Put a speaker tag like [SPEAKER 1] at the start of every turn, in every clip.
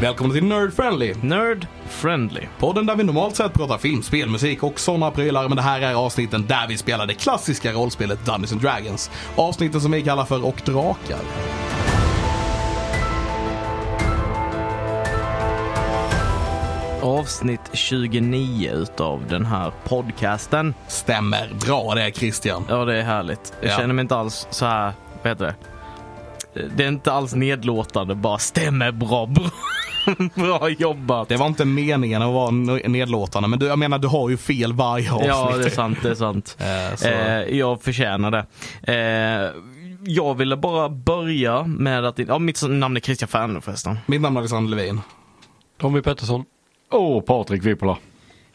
[SPEAKER 1] Välkommen till Nerd Friendly.
[SPEAKER 2] Nerd friendly.
[SPEAKER 1] Podden där vi normalt sett pratar film, spel, musik och sådana prylar. Men det här är avsnitten där vi spelar det klassiska rollspelet Dungeons and Dragons. Avsnitten som vi kallar för Och Drakar.
[SPEAKER 2] Avsnitt 29 utav den här podcasten.
[SPEAKER 1] Stämmer bra det Christian.
[SPEAKER 2] Ja, det är härligt. Jag
[SPEAKER 1] Ja.
[SPEAKER 2] känner mig inte alls så här, vad heter det? Det är inte alls nedlåtande, bara stämmer bra, bra, bra jobbat.
[SPEAKER 1] Det var inte meningen att vara n- nedlåtande men du, jag menar du har ju fel varje avsnitt.
[SPEAKER 2] Ja, det är sant, det är sant.
[SPEAKER 1] Eh, så-
[SPEAKER 2] Eh, jag förtjänar det. Eh, jag ville bara börja med att, ja mitt namn är Christian Ferner förresten.
[SPEAKER 1] Mitt namn är Alexander Levin.
[SPEAKER 3] Tommy Pettersson. Och Patrik Vippola.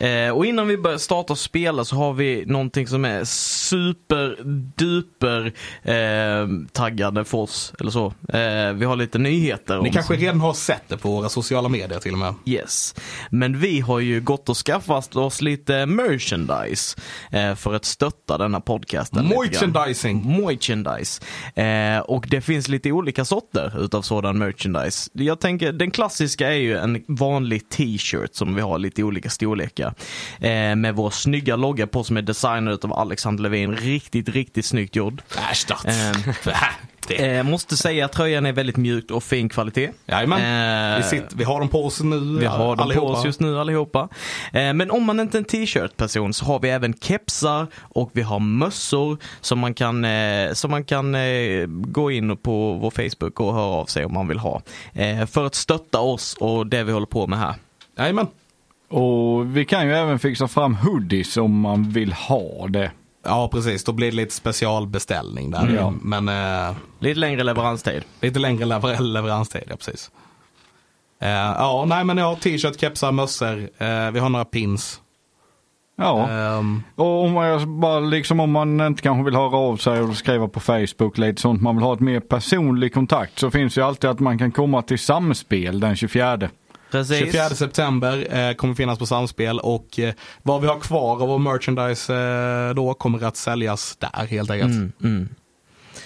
[SPEAKER 2] Eh, och innan vi börjar starta och spela så har vi någonting som är superduper eh, taggande för oss. Eller så. Eh, vi har lite nyheter.
[SPEAKER 1] Ni
[SPEAKER 2] om-
[SPEAKER 1] kanske redan har sett det på våra sociala medier till och med.
[SPEAKER 2] Yes. Men vi har ju gått och skaffat oss lite merchandise eh, för att stötta denna podcasten. lite grann. Mm.
[SPEAKER 1] Merchandising.
[SPEAKER 2] Merchandise. Eh, och det finns lite olika sorter utav sådan merchandise. Jag tänker, den klassiska är ju en vanlig t-shirt som vi har lite olika storlekar. Eh, med vår snygga logga på som är designad utav Alexander Levin. Riktigt, riktigt snyggt gjord.
[SPEAKER 1] Äsch, dat.
[SPEAKER 2] Ehm.
[SPEAKER 1] Bäh, Äh, det.
[SPEAKER 2] Eh, måste säga att tröjan är väldigt mjukt och fin kvalitet.
[SPEAKER 1] Jajamän.
[SPEAKER 2] Eh,
[SPEAKER 1] Vi, sitter, vi har dem på oss nu.
[SPEAKER 2] Vi har dem på oss just nu allihopa. Eh, Men om man inte är en t-shirt-person så har vi även kepsar och vi har mössor som man kan, eh, som man kan eh, gå in på vår Facebook och höra av sig om man vill ha. Eh, För att stötta oss och det vi håller på med här.
[SPEAKER 1] Jajamän.
[SPEAKER 3] Och vi kan ju även fixa fram hoodies om man vill ha det.
[SPEAKER 1] Ja precis, då blir det lite specialbeställning
[SPEAKER 2] Mm,
[SPEAKER 1] där.
[SPEAKER 3] Ja.
[SPEAKER 1] Men eh,
[SPEAKER 2] Lite längre leveranstid.
[SPEAKER 1] lite längre lever- leveranstid, ja precis. Eh, ja, nej men jag har t-shirt, kepsar, mössor. Eh, vi har några pins.
[SPEAKER 3] Ja,
[SPEAKER 2] Eh.
[SPEAKER 1] Ehm,
[SPEAKER 3] och om man, bara liksom om man inte kanske vill höra av sig och skriva på Facebook lite sånt. Man vill ha ett mer personlig kontakt så finns ju alltid att man kan komma till Samspel den 24.
[SPEAKER 2] Precis.
[SPEAKER 1] 24 september eh, kommer finnas på Samspel och eh, vad vi har kvar av vår merchandise eh, då kommer att säljas där helt enkelt.
[SPEAKER 2] Mm, mm.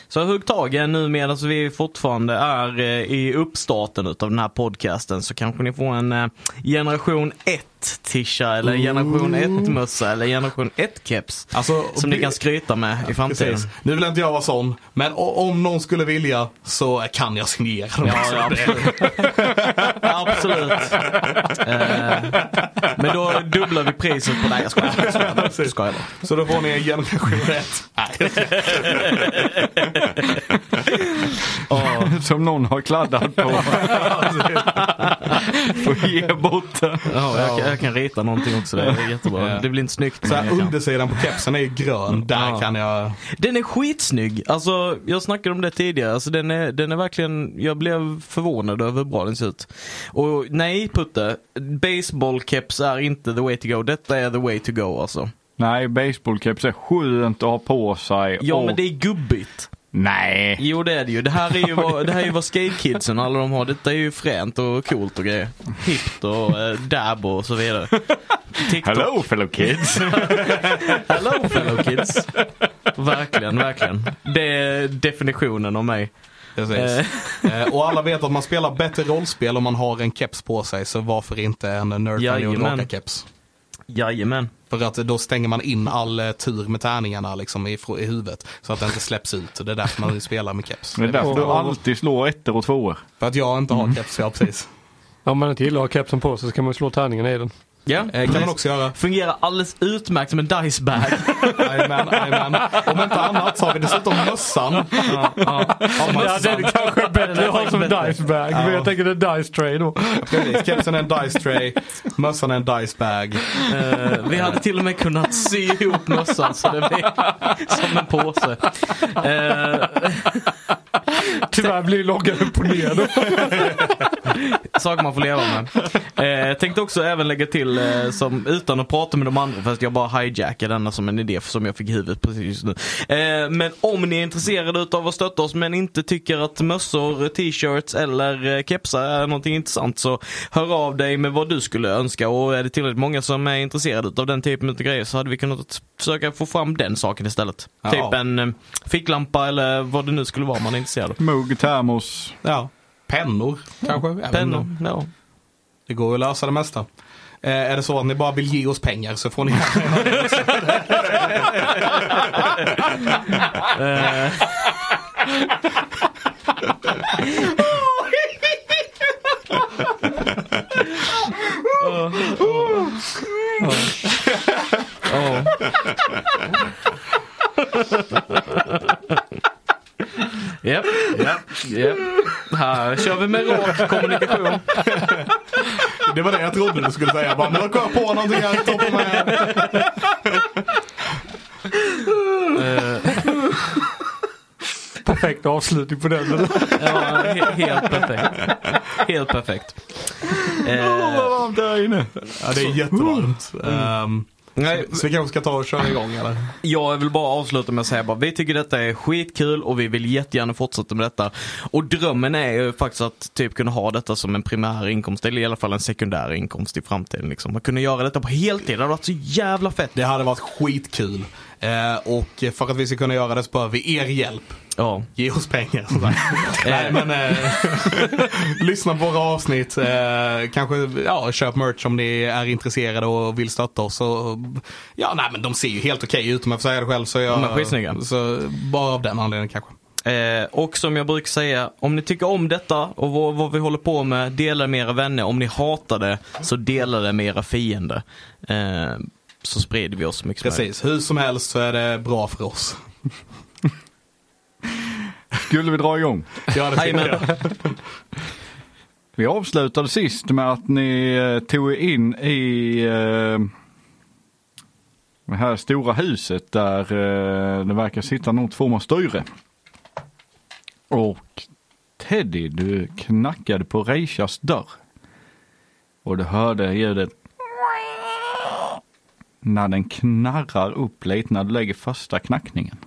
[SPEAKER 2] Så hugg tag i er nu medan vi fortfarande är eh, i uppstarten utav den här podcasten så kanske ni får en eh, generation 1 tisha eller en generation 1 mössa eller en generation 1 keps.
[SPEAKER 1] Mm. Alltså,
[SPEAKER 2] Som ni kan skryta med i framtiden.
[SPEAKER 1] Precis. Nu vill inte jag vara sån, men o- om någon skulle vilja så kan jag signera dem.
[SPEAKER 2] Ja, ja, absolut. absolut. Eh, men då dubblar vi priset på... Nej, jag skojar. Jag skojar. bara. Jag skojar bara.
[SPEAKER 1] Så då får ni en generation rätt. Nej,
[SPEAKER 3] Som någon har kladdat på. Får ge bort det.
[SPEAKER 2] Ja, jag, kan- jag kan rita någonting också. Det är jättebra. Det blir inte snyggt.
[SPEAKER 1] Så
[SPEAKER 2] men
[SPEAKER 1] här,
[SPEAKER 2] Mm, jag kan. Mm.
[SPEAKER 1] undersidan på kepsen är ju grön. Där
[SPEAKER 2] Ja.
[SPEAKER 1] kan jag...
[SPEAKER 2] Den är skitsnygg. Alltså, jag snackade om det tidigare. Alltså, den, är, den är verkligen, jag blev förvånad över hur bra den ser ut. Och nej Putte, baseballkeps är inte the way to go. Detta är the way to go alltså.
[SPEAKER 3] Nej, baseballkeps är skönt att ha på sig.
[SPEAKER 2] Ja
[SPEAKER 3] och...
[SPEAKER 2] men det är gubbigt.
[SPEAKER 3] Nej.
[SPEAKER 2] Jo det är det ju. Det här är ju vad, det här är ju vad skatekidsen och alla de har. Detta är ju fränt och coolt och grejer. Hippt och eh, dab och så vidare. TikTok.
[SPEAKER 3] fellow kids.
[SPEAKER 2] Hello fellow kids. Verkligen, verkligen. Det är definitionen av mig.
[SPEAKER 1] Precis. Eh, och alla vet att man spelar bättre rollspel om man har en keps på sig. Så varför inte en
[SPEAKER 2] Jajamän.
[SPEAKER 1] nerdfamilj keps
[SPEAKER 2] Jajamän.
[SPEAKER 1] För att då stänger man in all eh, tur med tärningarna liksom i, fro- i huvudet. Så att det inte släpps ut. Och det är därför man spelar med keps.
[SPEAKER 3] Det är därför du
[SPEAKER 4] Och-
[SPEAKER 3] alltid slår ettor och tvåor.
[SPEAKER 1] För att jag inte
[SPEAKER 2] Mm.
[SPEAKER 1] har keps, ja precis.
[SPEAKER 4] Om man inte gillar att ha kepsen på sig så kan man slå tärningen i den.
[SPEAKER 2] Ja.
[SPEAKER 1] Eh, kan man också göra.
[SPEAKER 2] Fungerar alldeles utmärkt som en dicebag.
[SPEAKER 1] Jajamän, jajamän. Om inte annat så har vi dessutom mössan. Av
[SPEAKER 4] Ja, det är
[SPEAKER 1] mössan.
[SPEAKER 4] kanske bättre att ha som
[SPEAKER 2] bättre.
[SPEAKER 4] dicebag. Men jag tänker det är dice tray då.
[SPEAKER 1] Precis. Kepsen är en dice tray, mössan är en dice bag.
[SPEAKER 2] Eh, vi hade till och med kunnat sy ihop mössan så det blev som en påse. Eh,
[SPEAKER 4] Tyvärr blir loggan upp och ner då.
[SPEAKER 2] saker man får leva med. Eh, jag tänkte också även lägga till, eh, som, utan att prata med de andra, fast jag bara hijackar denna som en idé som jag fick i huvudet precis just nu. Eh, men om ni är intresserade utav att stötta oss men inte tycker att mössor, t-shirts eller eh, kepsar är någonting intressant så hör av dig med vad du skulle önska och är det tillräckligt många som är intresserade utav den typen av grejer så hade vi kunnat försöka få fram den saken istället.
[SPEAKER 1] Ja.
[SPEAKER 2] Typ en eh, ficklampa eller vad det nu skulle vara man är intresserad av.
[SPEAKER 3] Mugg, termos.
[SPEAKER 1] Ja. Pennor kanske? Jag vet
[SPEAKER 2] Pennor,
[SPEAKER 1] inte.
[SPEAKER 2] ja.
[SPEAKER 1] Det går ju att lösa det mesta. Eh, är det så att ni bara vill ge oss pengar så får ni gärna göra det också.
[SPEAKER 2] Ja. Japp, japp, japp. Här kör vi med rak kommunikation.
[SPEAKER 1] Det var det jag trodde du skulle säga. Bara, nu har jag kommit på någonting här. Toppen med.
[SPEAKER 4] Perfekt avslutning på den.
[SPEAKER 2] Ja, he- helt perfekt. Helt perfekt. Eh,
[SPEAKER 3] Varmt där inne.
[SPEAKER 1] Ja, det är jättevarmt. Ehm,
[SPEAKER 2] nej,
[SPEAKER 1] så vi kanske ska ta och köra igång eller?
[SPEAKER 2] jag vill bara avsluta med att säga bara, vi tycker detta är skitkul och vi vill jättegärna fortsätta med detta. Och drömmen är ju faktiskt att typ kunna ha detta som en primär inkomst, eller i alla fall en sekundär inkomst i framtiden. Liksom. Att kunna göra detta på heltid, det hade varit så jävla fett.
[SPEAKER 1] Det hade varit skitkul. Eh, och för att vi ska kunna göra det så behöver vi er hjälp.
[SPEAKER 2] Ja.
[SPEAKER 1] Ge oss pengar. som sagt. Nej men eh, lyssna på våra avsnitt. Eh, kanske ja, köp merch om ni är intresserade och vill stötta oss. Och, ja, nej men de ser ju helt okej ut om jag får säga det själv. Så jag,
[SPEAKER 2] De är skitsnygga.
[SPEAKER 1] Så bara av den anledningen kanske.
[SPEAKER 2] Eh, och som jag brukar säga, om ni tycker om detta och vad, vad vi håller på med, dela det med era vänner. Om ni hatar det, så dela det med era fiender. Eh, så sprider vi oss så mycket som möjligt.
[SPEAKER 1] Precis, hur som helst så är det bra för oss.
[SPEAKER 3] Skulle vi dra igång?
[SPEAKER 1] Ja, det tycker jag.
[SPEAKER 2] Jajamän.
[SPEAKER 3] Vi avslutade sist med att ni eh, tog er in i eh, det här stora huset där eh, det verkar sitta någon form av styre. Och Teddy, du knackade på Reishas dörr. Och du hörde ljudet när den knarrar upp lite när du lägger första knackningen.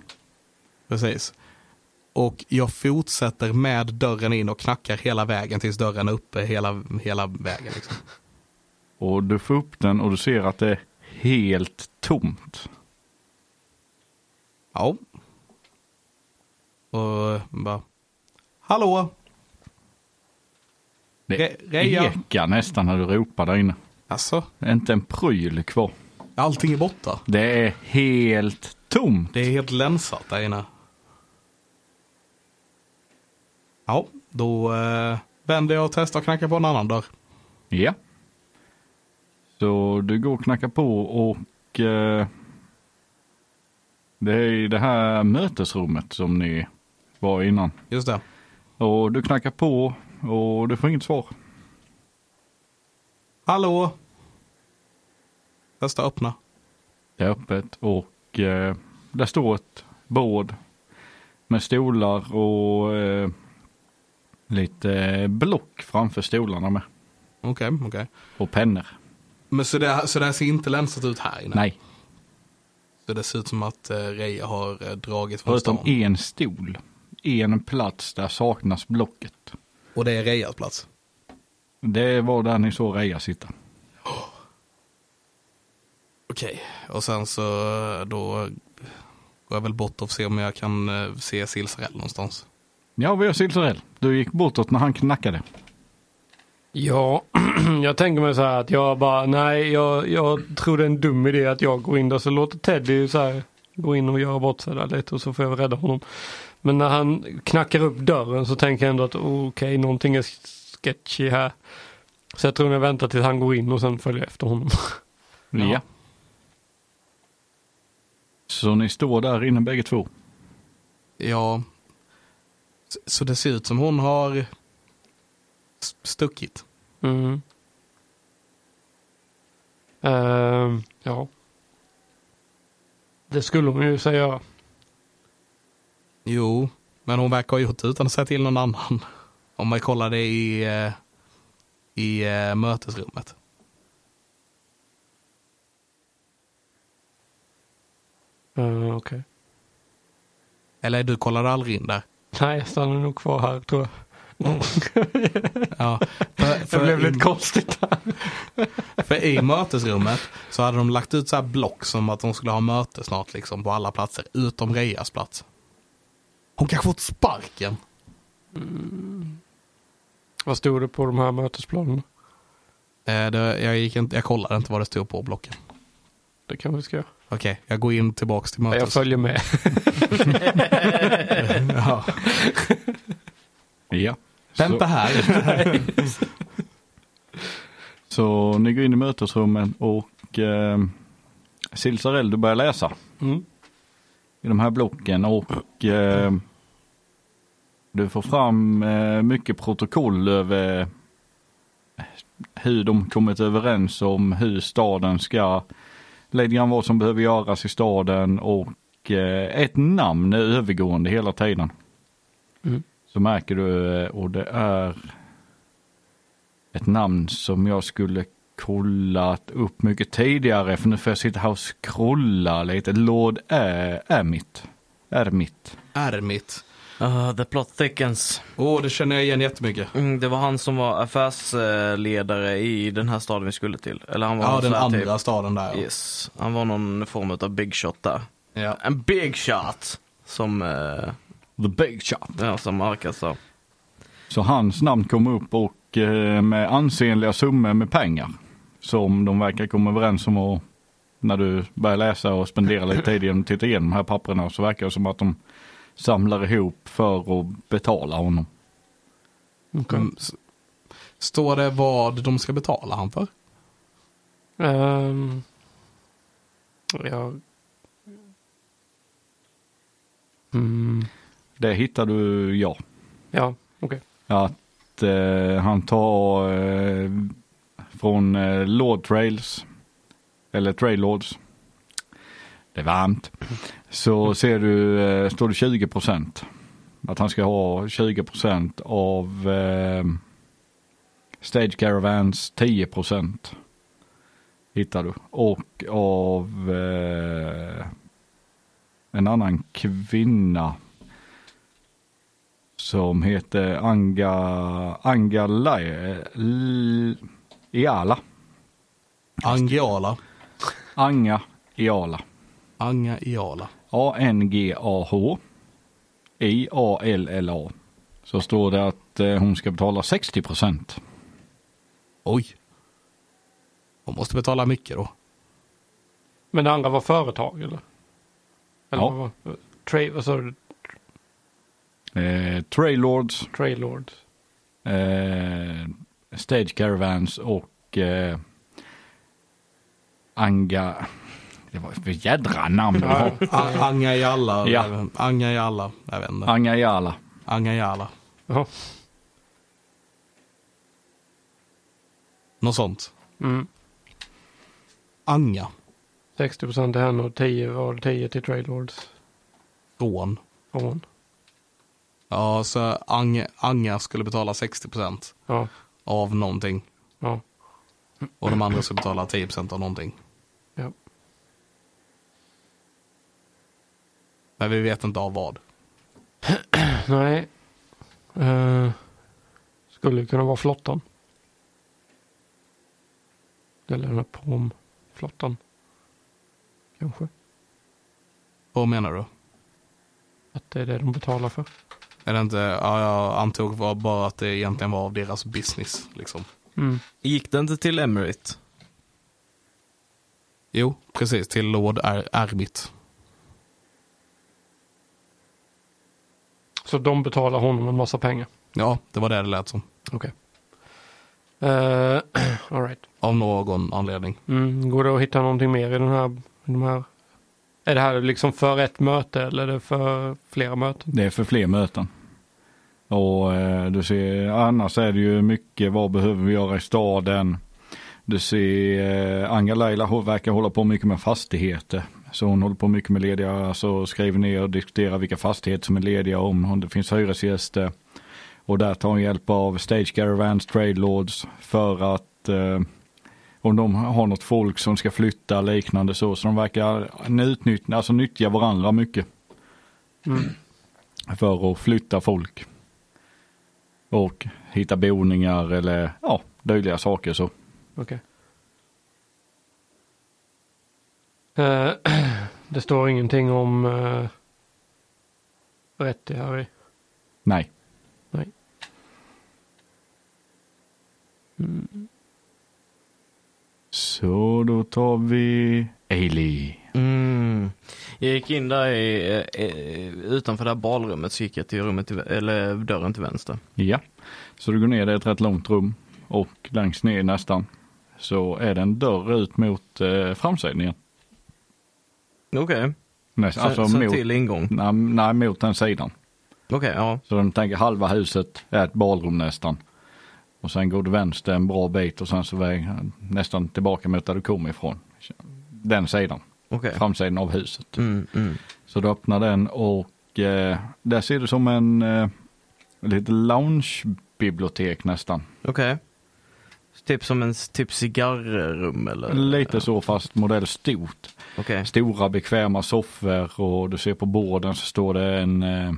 [SPEAKER 1] Precis. Och jag fortsätter med dörren in och knackar hela vägen tills dörren är uppe hela, hela vägen. Liksom.
[SPEAKER 3] Och du får upp den och du ser att det är helt tomt.
[SPEAKER 1] Ja. Och bara, hallå?
[SPEAKER 3] Det
[SPEAKER 1] Re- Reja.
[SPEAKER 3] ekar nästan när du ropar där inne.
[SPEAKER 1] Alltså,
[SPEAKER 3] Det är Inte en pryl kvar.
[SPEAKER 1] allting är borta.
[SPEAKER 3] Det är helt tomt.
[SPEAKER 1] Det är helt länsat där inne. Ja, då eh, vänder jag och testar att knacka på en annan dörr.
[SPEAKER 3] Ja. Så du går och knackar på och eh, det är i det här mötesrummet som ni var innan.
[SPEAKER 1] Just det.
[SPEAKER 3] Och du knackar på och du får inget svar.
[SPEAKER 1] Hallå? Testa öppna.
[SPEAKER 3] Det är öppet och eh, där står ett bord med stolar och eh, lite block framför stolarna med.
[SPEAKER 1] Okej, okej.
[SPEAKER 3] Och pennor.
[SPEAKER 1] Men så det, så det här ser inte länsat ut här inne?
[SPEAKER 3] Nej,
[SPEAKER 1] Så det ser ut som att eh, Reja har eh, dragit från
[SPEAKER 3] förutom
[SPEAKER 1] stan.
[SPEAKER 3] en stol. En plats där saknas blocket.
[SPEAKER 1] Och det är Rejas plats.
[SPEAKER 3] Det var där ni såg Reja sitta.
[SPEAKER 1] Okej, och sen så eh, då går jag väl bort och ser om jag kan eh, se Silsarell någonstans.
[SPEAKER 3] Ja, vi har Silsarell. Du gick bortåt när han knackade.
[SPEAKER 4] Ja, jag tänker mig så här att jag bara, nej jag, jag tror det är en dum idé att jag går in där så låter Teddy så här gå in och göra bort sig där lite och så får jag rädda honom. Men när han knackar upp dörren så tänker jag ändå att okej någonting är sketchy här. Så jag tror jag väntar tills han går in och sen följer jag efter honom.
[SPEAKER 3] Ja. Så ni står där inne bägge två.
[SPEAKER 1] Ja, S- så det ser ut som hon har s- stuckit.
[SPEAKER 4] Mm. Ehm, ja. Det skulle hon ju säga. göra.
[SPEAKER 1] Jo, men hon verkar ha gjort det utan att säga till någon annan. Om man kollar det i, eh, i eh, mötesrummet.
[SPEAKER 4] Ehm, Okej.
[SPEAKER 1] Eller du kollade aldrig in där?
[SPEAKER 4] Nej, jag stannar nog kvar här tror jag.
[SPEAKER 1] Ja, för,
[SPEAKER 4] Det blev
[SPEAKER 1] för,
[SPEAKER 4] lite konstigt.
[SPEAKER 1] För i mötesrummet så hade de lagt ut så här block som att de skulle ha möte snart liksom på alla platser utom Rejas plats. Hon kanske fått sparken.
[SPEAKER 4] Vad stod det på de här mötesplanerna?
[SPEAKER 1] Eh, det, jag, gick inte, jag kollade inte vad det stod på blocken.
[SPEAKER 4] Det kanske vi ska göra.
[SPEAKER 1] Okej, jag går in tillbaks till
[SPEAKER 4] Jag
[SPEAKER 1] mötes.
[SPEAKER 4] följer med.
[SPEAKER 1] ja.
[SPEAKER 3] Ja.
[SPEAKER 1] Vänta
[SPEAKER 3] Så,
[SPEAKER 1] här.
[SPEAKER 3] så ni går in i mötesrummen och eh, Silsarell, du börjar läsa
[SPEAKER 4] Mm.
[SPEAKER 3] i de här blocken och eh, du får fram eh, mycket protokoll över eh, hur de kommit överens om hur staden ska, lite grann vad som behöver göras i staden och eh, ett namn är övergående hela tiden.
[SPEAKER 4] Mm.
[SPEAKER 3] Så märker du eh, och det är ett namn som jag skulle kollat upp mycket tidigare för nu får jag sitta här och scrolla lite. Lord Ä- Ermit. Ermit.
[SPEAKER 1] Ärmigt.
[SPEAKER 2] Ah, the plot thickens.
[SPEAKER 1] Åh, oh, det känner jag igen jättemycket.
[SPEAKER 2] Mm, det var han som var affärsledare i den här staden vi skulle till. Eller han var
[SPEAKER 1] Ja,
[SPEAKER 2] någon
[SPEAKER 1] den
[SPEAKER 2] sån här typ.
[SPEAKER 1] andra staden där. ja.
[SPEAKER 2] Yes. Han var någon form av big shot där.
[SPEAKER 1] Ja.
[SPEAKER 2] En big shot! Som, eh,
[SPEAKER 3] The Big Shot.
[SPEAKER 2] ja, som Arkas sa.
[SPEAKER 3] Så hans namn kom upp och eh, med ansenliga summor med pengar. Som de verkar komma överens om och när du börjar läsa och spendera lite tid genom att titta igenom de här papperna så verkar det som att de samlar ihop för att betala honom.
[SPEAKER 1] Mm, s- Står det vad de ska betala han för?
[SPEAKER 4] Ehm, jag... Mm.
[SPEAKER 3] Det hittar du, ja.
[SPEAKER 4] Ja, okej.
[SPEAKER 3] att eh, han tar eh, från eh, Lord Trails, eller Trail Lords. Det är varmt. Så ser du, eh, står det 20 procent. Att han ska ha 20 procent av eh, Stage Caravans 10 procent. Hittar du. Och av eh, en annan kvinna som heter Anga, Anga Lai- L- Iala.
[SPEAKER 1] Angiala.
[SPEAKER 3] Anga Iala.
[SPEAKER 1] Anga Iala.
[SPEAKER 3] A-N-G-A-H I-A-L-L-A. Så står det att eh, hon ska betala 60 procent.
[SPEAKER 1] Oj. De måste betala mycket då.
[SPEAKER 4] Men det andra var företag eller? eller
[SPEAKER 3] Ja.
[SPEAKER 4] vad var- Tra- vad sa du?
[SPEAKER 3] Eh, Trailords,
[SPEAKER 4] Trailord.
[SPEAKER 3] eh, Stage Caravans och eh, Anga... Det var ett jädra namn du har.
[SPEAKER 1] A- Anga Iala.
[SPEAKER 3] Ja.
[SPEAKER 1] Anga Iala. Jag vet inte.
[SPEAKER 3] Anga Iala.
[SPEAKER 1] Anga Iala.
[SPEAKER 4] Ja.
[SPEAKER 1] Något sånt.
[SPEAKER 4] Mm.
[SPEAKER 1] Anga.
[SPEAKER 4] 60 procent till henne och 10 var 10 till Trailords.
[SPEAKER 1] Rån.
[SPEAKER 4] Från.
[SPEAKER 1] Ja, så Ang, Anga skulle betala 60 procent
[SPEAKER 4] Ja,
[SPEAKER 1] av någonting.
[SPEAKER 4] ja,
[SPEAKER 1] Och de andra skulle betala 10 procent av någonting.
[SPEAKER 4] ja.
[SPEAKER 1] Men vi vet inte av vad.
[SPEAKER 4] Nej. Eh, skulle kunna vara flottan. Eller den här promflottan. Kanske.
[SPEAKER 1] Vad menar du?
[SPEAKER 4] Att det är det de betalar för.
[SPEAKER 1] Är det inte, ja, jag antog var bara att det egentligen var av deras business. Liksom.
[SPEAKER 4] Mm.
[SPEAKER 2] Gick det inte till Emirate?
[SPEAKER 1] Jo, precis. Till Lord Ar- Armit.
[SPEAKER 4] Så de betalar honom en massa pengar.
[SPEAKER 1] Ja, det var det det lät som.
[SPEAKER 4] Okej. Okay. Eh, all right.
[SPEAKER 1] Av någon anledning.
[SPEAKER 4] Mm, går det att hitta någonting mer i den här, i de här? Är det här liksom för ett möte eller är det för flera möten?
[SPEAKER 3] Det är för fler möten. Och eh, du ser, annars är det ju mycket vad behöver vi göra i staden. Du ser, eh, Anga Laila hon verkar hålla på mycket med fastigheter. Så hon håller på mycket med lediga, alltså skriver ner och diskuterar vilka fastigheter som är lediga om, om det finns hyresgäster. Och där tar hon hjälp av Stage Caravans, Trade Lords för att eh, om de har något folk som ska flytta liknande så. Så de verkar utnyttja, alltså nyttja varandra mycket
[SPEAKER 4] Mm,
[SPEAKER 3] för att flytta folk. Och hitta boningar eller ja, dylika saker så.
[SPEAKER 4] Okej. Eh, det står ingenting om uh, rätt i Harry.
[SPEAKER 3] Nej.
[SPEAKER 2] Mm.
[SPEAKER 4] Nej.
[SPEAKER 3] Så då tar vi Ailey.
[SPEAKER 2] Mm. Jag gick in där i, eh, eh, utanför det här balrummet så gick jag till rummet till, vä- eller dörren till vänster.
[SPEAKER 3] Ja, så du går ner, det är ett rätt långt rum och längst ner nästan så är det en dörr ut mot eh, framsidan igen.
[SPEAKER 2] Okej,
[SPEAKER 3] Nej,
[SPEAKER 2] så,
[SPEAKER 3] alltså
[SPEAKER 2] så
[SPEAKER 3] mot,
[SPEAKER 2] till ingång.
[SPEAKER 3] nej, nej, mot den sidan.
[SPEAKER 2] Okej, ja.
[SPEAKER 3] Så de tänker halva huset är ett badrum nästan. Och sen går du vänster en bra bit och sen så väg nästan tillbaka mot där du kom ifrån. Den sidan,
[SPEAKER 2] Okej.
[SPEAKER 3] framsidan av huset.
[SPEAKER 2] Mm, mm.
[SPEAKER 3] Så du öppnar den och eh, där ser du som en eh, lite loungebibliotek nästan.
[SPEAKER 2] Okej. Typ som en s- typ cigarrrum eller?
[SPEAKER 3] Lite så fast modell stort.
[SPEAKER 2] Okej.
[SPEAKER 3] Stora bekväma soffor och du ser på borden så står det en eh,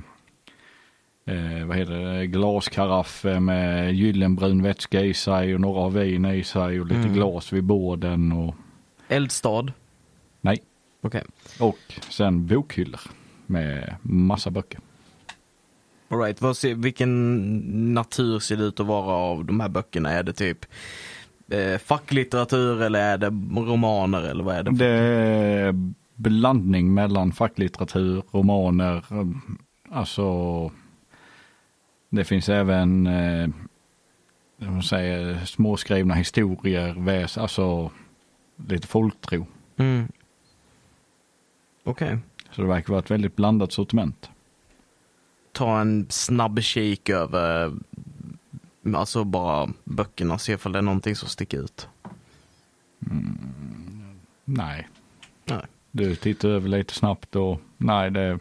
[SPEAKER 3] eh, vad heter det, glaskaraff med gyllenbrun vätska i sig och några har vin i sig och lite
[SPEAKER 2] Mm.
[SPEAKER 3] glas vid borden och
[SPEAKER 2] Eldstad.
[SPEAKER 3] nej.
[SPEAKER 2] Okej.
[SPEAKER 3] Och sen bokhyllor med massa böcker.
[SPEAKER 2] All right. Vad ser, vilken natur ser det ut att vara av de här böckerna? Är det typ eh, facklitteratur eller är det romaner eller vad är det?
[SPEAKER 3] Det är blandning mellan facklitteratur, romaner, alltså det finns även eh, vad man säger, småskrivna historier, väs, alltså lite folktro.
[SPEAKER 2] Mm. Okej.
[SPEAKER 3] Så det verkar vara ett väldigt blandat sortiment.
[SPEAKER 2] Ta en snabb kik över Alltså bara böckerna, se ifall det är någonting som sticker ut.
[SPEAKER 3] Nej,
[SPEAKER 2] Nej.
[SPEAKER 3] du tittar över lite snabbt och nej, det,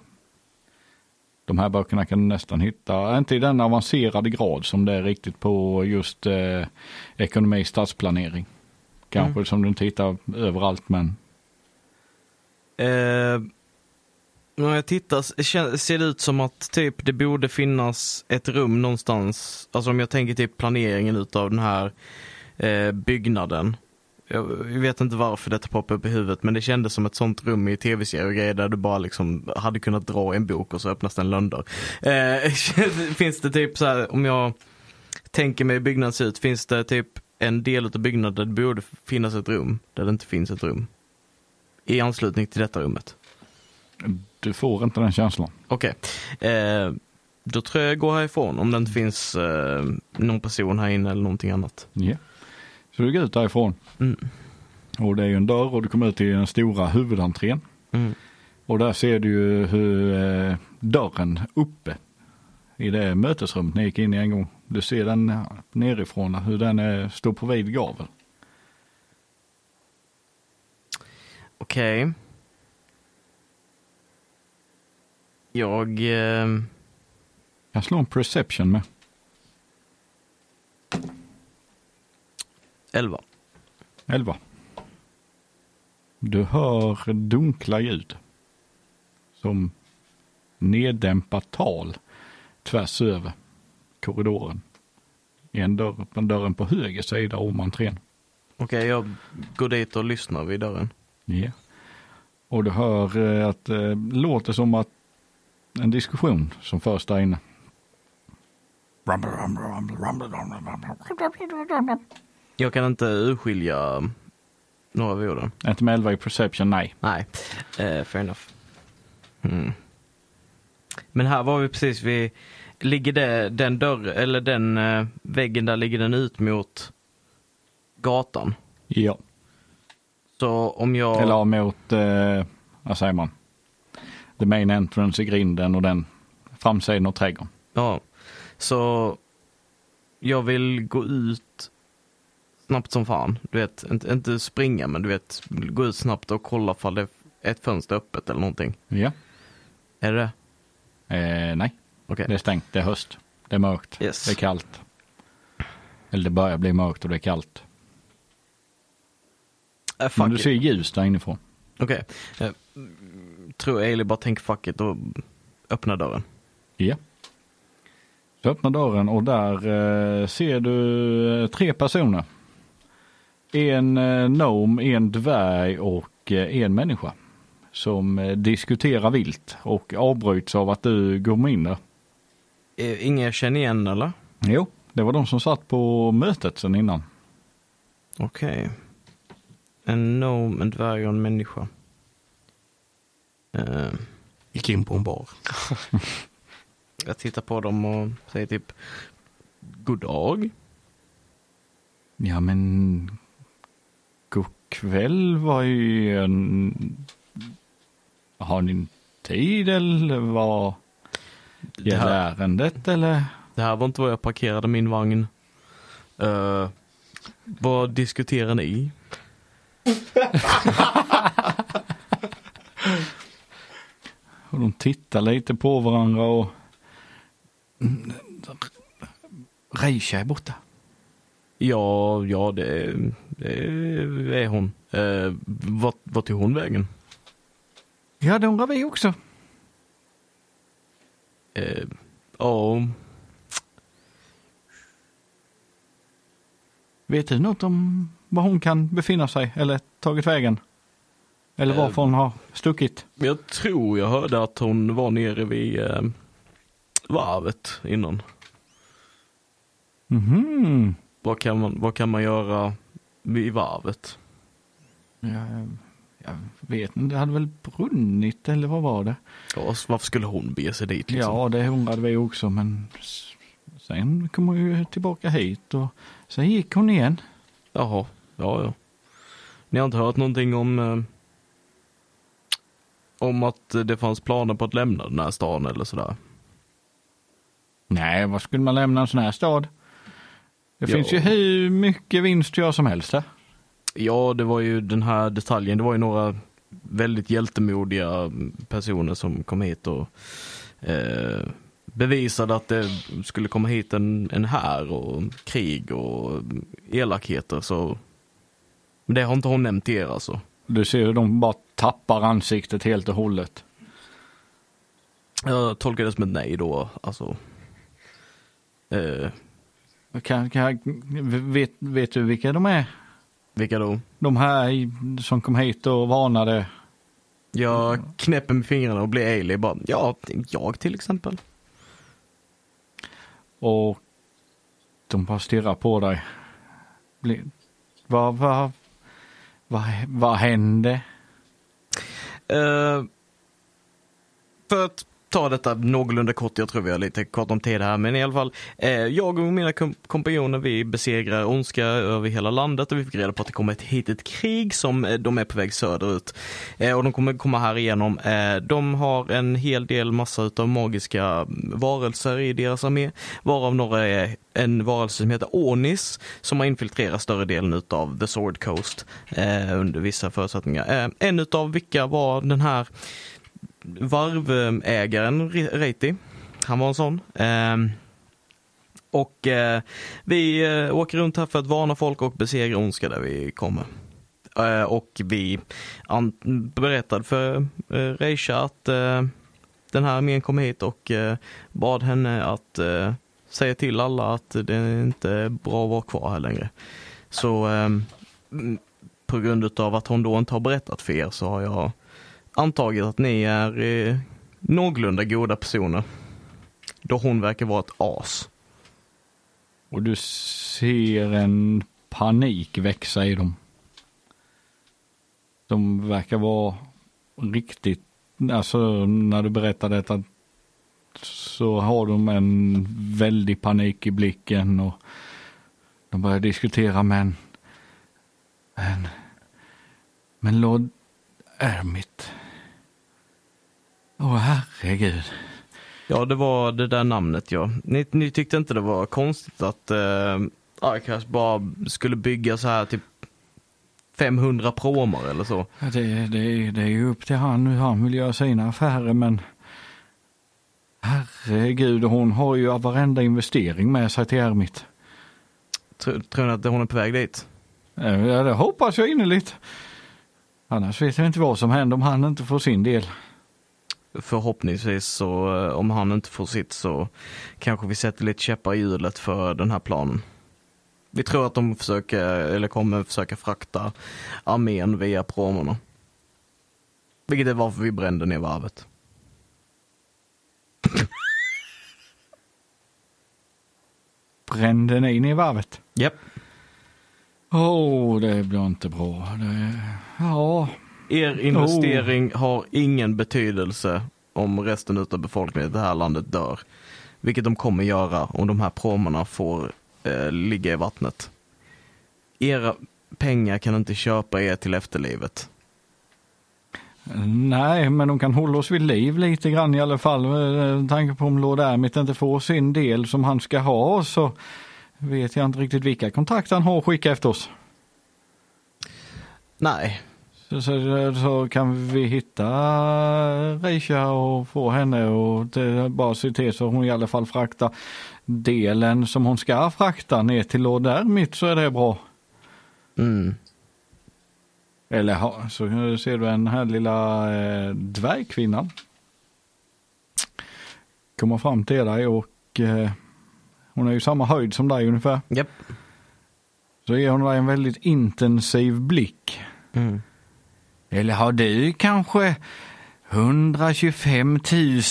[SPEAKER 3] de här böckerna kan du nästan hitta, inte i den avancerade grad som det är riktigt på just eh, ekonomi, stadsplanering. Kanske som du inte hittar överallt men
[SPEAKER 2] Eh, när jag tittar s- kän- ser det ut som att typ det borde finnas ett rum någonstans. Alltså om jag tänker typ planeringen utav den här eh, byggnaden. Jag jag vet inte varför detta poppar upp i huvudet men det kändes som ett sånt rum i tv-serier och grejer där du bara liksom hade kunnat dra i en bok och så öppnas den lönder. Eh, finns det typ så här, om jag tänker mig hur byggnaden ser ut, finns det typ en del utav byggnaden där det borde finnas ett rum, där det inte finns ett rum? I anslutning till detta rummet?
[SPEAKER 3] du får inte den känslan.
[SPEAKER 2] Okej. Eh, då tror jag jag går härifrån om det inte finns eh, någon person här inne eller någonting annat.
[SPEAKER 3] Ja. Så du går ut därifrån
[SPEAKER 2] Mm.
[SPEAKER 3] och det är ju en dörr och du kommer ut till den stora huvudentrén.
[SPEAKER 2] Mm.
[SPEAKER 3] Och där ser du ju hur eh, dörren uppe i det mötesrummet ni gick in i en gång. Du ser den nerifrån hur den eh, står på vid gavel.
[SPEAKER 2] Okej. Jag... Eh,
[SPEAKER 3] Jag slår en perception med.
[SPEAKER 2] 11.
[SPEAKER 3] 11. Du hör dunkla ljud. Som neddämpat tal tvärs över korridoren. I en dörr, på dörren på höger sida om entrén.
[SPEAKER 2] Okej, jag går dit och lyssnar vid dörren.
[SPEAKER 3] Ja. Och du hör eh, att det låter som att en diskussion som förs där inne. Rumble, rumble, rumble, rumble, rumble, rumble,
[SPEAKER 2] Jag kan inte urskilja eh, några av orden.
[SPEAKER 3] Inte med 11 i perception, nej.
[SPEAKER 2] Nej, eh, fair enough. Mm. Men här var vi precis vid, ligger det, den dörr, eller den eh, väggen där ligger den ut mot gatan.
[SPEAKER 3] Ja.
[SPEAKER 2] Så om jag,
[SPEAKER 3] Eller mot, eh, vad säger man, the main entrance i grinden och den framsidan av trädgården.
[SPEAKER 2] ja, så jag vill gå ut snabbt som fan. Du vet, inte, inte springa men du vet, gå ut snabbt och kolla ifall det är ett fönster öppet eller någonting.
[SPEAKER 3] Ja.
[SPEAKER 2] Är det det?
[SPEAKER 3] Eh, nej,
[SPEAKER 2] Okej.
[SPEAKER 3] det är stängt, det är höst, det är mörkt,
[SPEAKER 2] Yes.
[SPEAKER 3] det är kallt. Eller det börjar bli mörkt och det är kallt.
[SPEAKER 2] Eh,
[SPEAKER 3] Men
[SPEAKER 2] fuck
[SPEAKER 3] du
[SPEAKER 2] it.
[SPEAKER 3] ser ljus där inifrån.
[SPEAKER 2] Okej. Eh, tror Ailey bara tänker fuck it och öppnar dörren.
[SPEAKER 3] Ja. Så öppnar dörren och där eh, ser du eh, tre personer. En eh, gnome, en dvärg och eh, en människa. Som eh, diskuterar vilt och avbryts av att du går in där.
[SPEAKER 2] Eh, Ingen jag känner igen eller?
[SPEAKER 3] Jo, det var de som satt på mötet sen innan.
[SPEAKER 2] Okej. En gnome, en dvärg och en människa. Eh,
[SPEAKER 1] Gick in på en bar.
[SPEAKER 2] jag tittar på dem och säger typ God dag.
[SPEAKER 3] Ja men, god kväll var ju en... Har ni en tid eller vad
[SPEAKER 2] Det
[SPEAKER 3] gäller
[SPEAKER 2] här,
[SPEAKER 3] ärendet eller?
[SPEAKER 2] det här var inte var jag parkerade min vagn. Eh, vad diskuterar ni?
[SPEAKER 3] Och de tittar lite på varandra och... Mm, Reisha är borta.
[SPEAKER 2] Ja, ja det, det är hon. Eh, vart, vart tog hon vägen?
[SPEAKER 3] Ja, det undrar vi också.
[SPEAKER 2] Eh, ja,
[SPEAKER 3] Vet du något om var hon kan befinna sig eller tagit vägen? Eller
[SPEAKER 2] Eh,
[SPEAKER 3] varför hon har stuckit?
[SPEAKER 2] jag tror jag hörde att hon var nere vid eh, varvet innan.
[SPEAKER 3] Mhm.
[SPEAKER 2] Vad kan man, vad kan man göra vid varvet?
[SPEAKER 3] Jag, jag vet inte, det hade väl brunnit eller vad var det?
[SPEAKER 2] Ja, så varför skulle hon bege sig dit liksom?
[SPEAKER 3] Ja, det undrade vi också men s- sen kom hon ju tillbaka hit och sen gick hon igen.
[SPEAKER 2] Jaha, ja ja. Ni har inte hört någonting om eh, om att det fanns planer på att lämna den här stan eller sådär?
[SPEAKER 3] Nej, vad skulle man lämna en sån här stad? Det
[SPEAKER 2] Ja.
[SPEAKER 3] finns ju hur mycket vinst att göra som helst här.
[SPEAKER 2] Ja, det var ju den här detaljen. Det var ju några väldigt hjältemodiga personer som kom hit och eh, bevisade att det skulle komma hit en, en här och krig och elakheter. Så. Men det har inte hon nämnt till er alltså?
[SPEAKER 3] Du ser hur de bara tappar ansiktet helt och hållet.
[SPEAKER 2] Jag tolkar det som ett nej då. Alltså. Eh,
[SPEAKER 3] Kan, kan, vet, vet du vilka de är?
[SPEAKER 2] vilka då?
[SPEAKER 3] De här i- som kom hit och varnade.
[SPEAKER 2] Jag knäpper med fingrarna och blir ejlig bara. Ja, jag till exempel.
[SPEAKER 3] Och de bara stirrar på dig. Bli- Vad vad vad vad hände?
[SPEAKER 2] Eh, för att ta detta någorlunda kort, jag tror vi har lite kort om tid här, men i alla fall. eh, jag och mina kom- kompanjoner vi besegrar ondska över hela landet och vi fick reda på att det kommer ett hit ett krig som eh, de är på väg söderut. Eh, och de kommer komma här igenom. Eh, de har en hel del massa utav magiska varelser i deras armé, varav några är en varelse som heter Onis som har infiltrerat större delen utav The Sword Coast eh, under vissa förutsättningar. Eh, en utav vilka var den här varvägaren Re- Reiti. Han var en sån. Ehm, och eh, vi eh, åker runt här för att varna folk och besegra ondska där vi kommer. Eh, och vi an- berättade för eh, Reisha att eh, den här armén kom hit och eh, bad henne att eh, säga till alla att det inte är bra att vara kvar här längre. Så ehm, mm, på grund av att hon då inte har berättat för er så har jag antagit att ni är eh, någorlunda goda personer. Då hon verkar vara ett as.
[SPEAKER 3] Och du ser en panik växa i dem. De verkar vara riktigt, alltså när du berättar detta så har de en väldig panik i blicken och de börjar diskutera men, men, men Lord Ermit. Åh herregud.
[SPEAKER 2] Ja, det var det där namnet ja. Ni, ni tyckte inte det var konstigt att eh, Arkas bara skulle bygga så här typ 500 promar eller så?
[SPEAKER 3] Ja, Det, det, det är ju upp till han hur han vill göra sina affärer men herregud hon har ju varenda investering med sig till Ermit.
[SPEAKER 2] Tr- tror ni att hon är på väg dit?
[SPEAKER 3] Eh, Ja det hoppas jag innerligt. Annars vet jag inte vad som händer om han inte får sin del.
[SPEAKER 2] Förhoppningsvis så, eh, om han inte får sitt så kanske vi sätter lite käppar i hjulet för den här planen. Vi tror att de försöker, eller kommer försöka frakta armén via promorna. Vilket är varför vi brände ner varvet.
[SPEAKER 3] Brände ni ner varvet?
[SPEAKER 2] Japp.
[SPEAKER 3] Åh, oh, det blir inte bra. Det... Ja.
[SPEAKER 2] Er investering har ingen betydelse om resten av befolkningen i det här landet dör. Vilket de kommer göra om de här promerna får eh, ligga i vattnet. Era pengar kan inte köpa er till efterlivet.
[SPEAKER 3] Nej, men de kan hålla oss vid liv lite grann i alla fall. Eh, Med tanke på om Lord Ermit inte får sin del som han ska ha så vet jag inte riktigt vilka kontakter han har att skicka efter oss.
[SPEAKER 2] Nej,
[SPEAKER 3] Så, så, så kan vi hitta Reisha och få henne och det, bara se till så hon i alla fall fraktar delen som hon ska frakta ner till Lord Ermit så är det bra.
[SPEAKER 2] mm.
[SPEAKER 3] Eller ha, så ser du den här lilla eh, dvärgkvinnan. Kommer fram till dig och eh, hon är ju samma höjd som dig ungefär.
[SPEAKER 2] Japp.
[SPEAKER 3] Så ger hon dig en väldigt intensiv blick.
[SPEAKER 2] Mm.
[SPEAKER 3] Eller har du kanske 125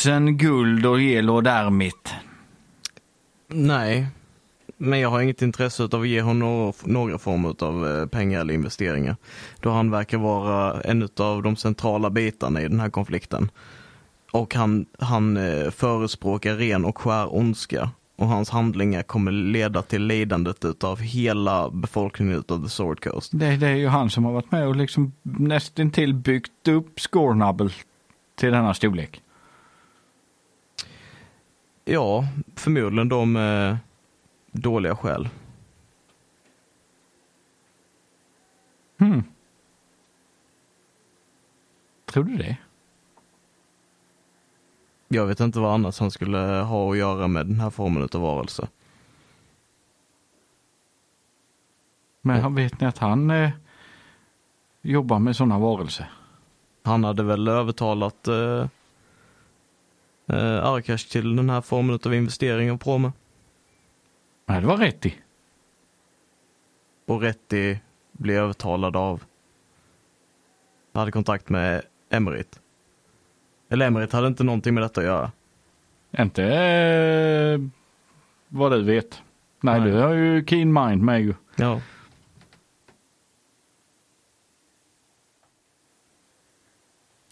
[SPEAKER 3] 000 guld och ge Lord Ermit?
[SPEAKER 2] Nej, men jag har inget intresse av att ge honom några, några former av pengar eller investeringar. Då han verkar vara en av de centrala bitarna i den här konflikten. Och han, han eh, förespråkar ren och skär ondska. Och hans handlingar kommer leda till lidandet utav hela befolkningen utav The Sword Coast.
[SPEAKER 3] Det, det är ju han som har varit med och liksom nästintill byggt upp Scornable till denna storlek.
[SPEAKER 2] Ja, förmodligen de eh, dåliga skäl.
[SPEAKER 3] Hmm. Tror du det?
[SPEAKER 2] Jag vet inte vad annars han skulle ha att göra med den här formen utav varelse.
[SPEAKER 3] Men han vet ni att han eh, jobbar med sådana varelser?
[SPEAKER 2] Han hade väl övertalat eh, eh, Arkash till den här formen av investering och promo.
[SPEAKER 3] Nej, det var rätt i.
[SPEAKER 2] Och Retti blev övertalad av, hade kontakt med Emerit. Eller Emerit hade inte någonting med detta att göra.
[SPEAKER 3] Inte eh, vad du vet. Nej,
[SPEAKER 2] Nej.
[SPEAKER 3] du har ju keen mind med ju.
[SPEAKER 2] Ja.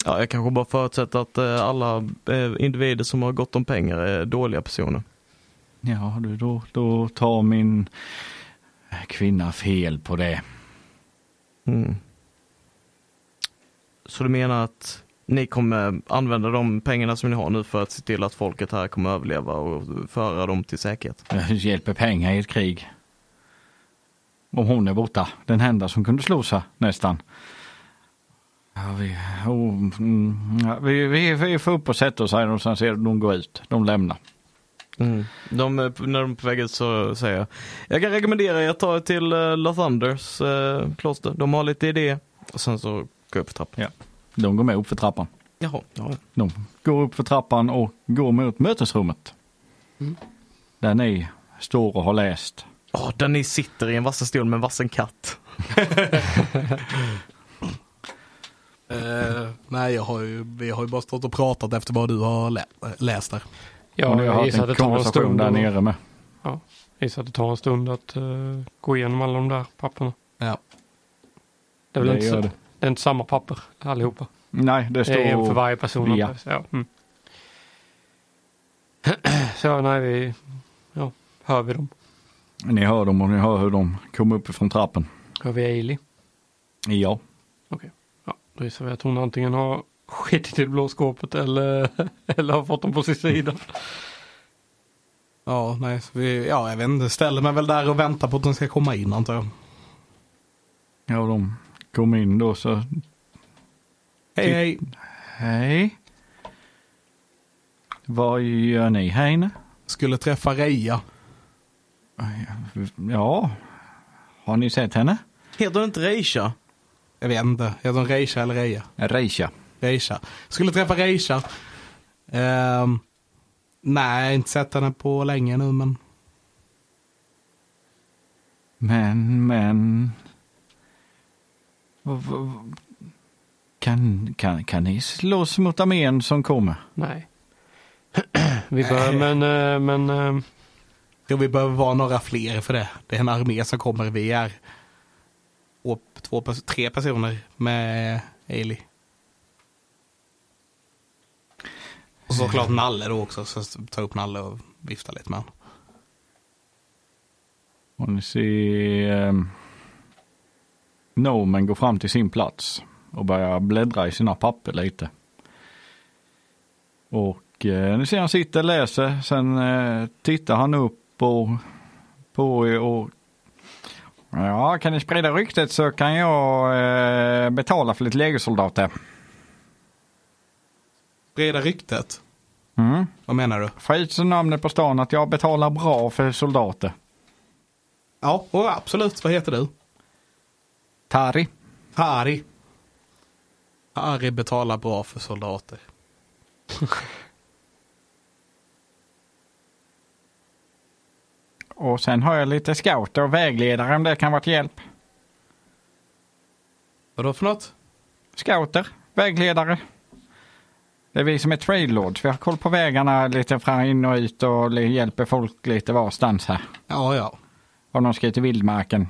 [SPEAKER 2] Ja, jag kanske bara förutsätter att eh, alla eh, individer som har gott om pengar är dåliga personer.
[SPEAKER 3] Ja, du, då, då tar min eh, kvinna fel på det.
[SPEAKER 2] Mm. Så du menar att ni kommer använda de pengarna som ni har nu för att se till att folket här kommer överleva och föra dem till säkerhet?
[SPEAKER 3] Eh, Hjälper pengar i ett krig. Om hon är borta. Den enda som kunde slå sig nästan. Ja, vi, oh, mm, ja, vi, vi, vi får upp och sätta oss här och sen ser du de går ut. De lämnar.
[SPEAKER 2] De, eh, när de är på väg ut så säger jag, jag kan rekommendera er att ta er till eh, Lathunders eh, kloster. De har lite idéer. Och sen så går jag upp för trappan.
[SPEAKER 3] Ja. De går med upp för trappan.
[SPEAKER 2] Jaha. Ja.
[SPEAKER 3] De går upp för trappan och går mot mötesrummet.
[SPEAKER 4] Mm.
[SPEAKER 3] Där ni står och har läst.
[SPEAKER 2] Åh, där ni sitter i en vassen stol med en vassen katt.
[SPEAKER 1] Eh, nej, jag har ju, vi har ju bara stått och pratat efter vad du har lä- läst där.
[SPEAKER 3] Och
[SPEAKER 4] Ja,
[SPEAKER 3] ni har
[SPEAKER 4] jag
[SPEAKER 3] haft
[SPEAKER 4] gissar att det tar en stund.
[SPEAKER 3] där
[SPEAKER 4] att-
[SPEAKER 3] nere med.
[SPEAKER 4] Ja, jag gissar att det tar en stund att eh, gå igenom alla de där papperna.
[SPEAKER 1] Ja.
[SPEAKER 4] Det är väl
[SPEAKER 3] Det
[SPEAKER 4] inte,
[SPEAKER 3] gör
[SPEAKER 4] så,
[SPEAKER 3] det.
[SPEAKER 4] det. är inte samma papper allihopa.
[SPEAKER 3] Nej, det
[SPEAKER 4] Det är en för
[SPEAKER 3] står...
[SPEAKER 4] varje person.
[SPEAKER 3] Ja.
[SPEAKER 4] Ja. Mm. så nej, vi ja, hör vi dem.
[SPEAKER 3] Ni hör dem och ni hör hur de kommer upp från trappen.
[SPEAKER 4] Hör vi Ailey?
[SPEAKER 3] Ja.
[SPEAKER 4] Okej. Ja, då gissar vi att hon antingen har skitit i det blå skåpet eller, eller har fått dem på sin sida.
[SPEAKER 1] Ja, nej, så vi, ja, jag vet inte. Ställer mig väl där och väntar på att de ska komma in antar jag.
[SPEAKER 3] Ja, de kom in då så...
[SPEAKER 1] Hej, hej.
[SPEAKER 3] Hej. Vad gör ni här inne?
[SPEAKER 1] Skulle träffa Reja.
[SPEAKER 3] Ja. Har ni sett henne?
[SPEAKER 2] Heter hon inte Reisha?
[SPEAKER 1] Jag vet inte. Heter hon Reisha eller Reja?
[SPEAKER 3] Reisha.
[SPEAKER 1] Reisha. Skulle träffa Reisha. Ehm, nej, inte sett henne på länge nu men.
[SPEAKER 3] Men, men... v- v- Kan, kan, kan ni slåss mot armén som kommer?
[SPEAKER 4] Nej. vi bör, men, eh, men eh,
[SPEAKER 1] Jag tror vi behöver vara några fler för det. Det är en armé som kommer. Vi är två, två, pers- tre personer med Ailey. Och såklart Nalle då också, så ta upp Nalle och vifta lite med honom.
[SPEAKER 3] Och ni ser ehm, Nomen gå fram till sin plats och börja bläddra i sina papper lite. Och eh, ni ser han sitter och läser, sen eh, tittar han upp och, på er och Ja, kan ni sprida ryktet så kan jag eh, betala för lite legosoldater.
[SPEAKER 1] Breda ryktet,
[SPEAKER 3] Mm.
[SPEAKER 1] vad menar du?
[SPEAKER 3] Få ut så namnet på stan att jag betalar bra för soldater.
[SPEAKER 1] Ja, och absolut, vad heter du?
[SPEAKER 3] Tari.
[SPEAKER 1] Harry. Harry betalar bra för soldater.
[SPEAKER 3] Och sen har jag lite scouter och vägledare om det kan vara till hjälp.
[SPEAKER 1] Vadå för något?
[SPEAKER 3] Scouter, vägledare. Det är vi som är trade lords. Vi har koll på vägarna lite fram in och ut och li- hjälper folk lite varstans här.
[SPEAKER 1] Ja, ja.
[SPEAKER 3] Om de ska ut i vildmarken.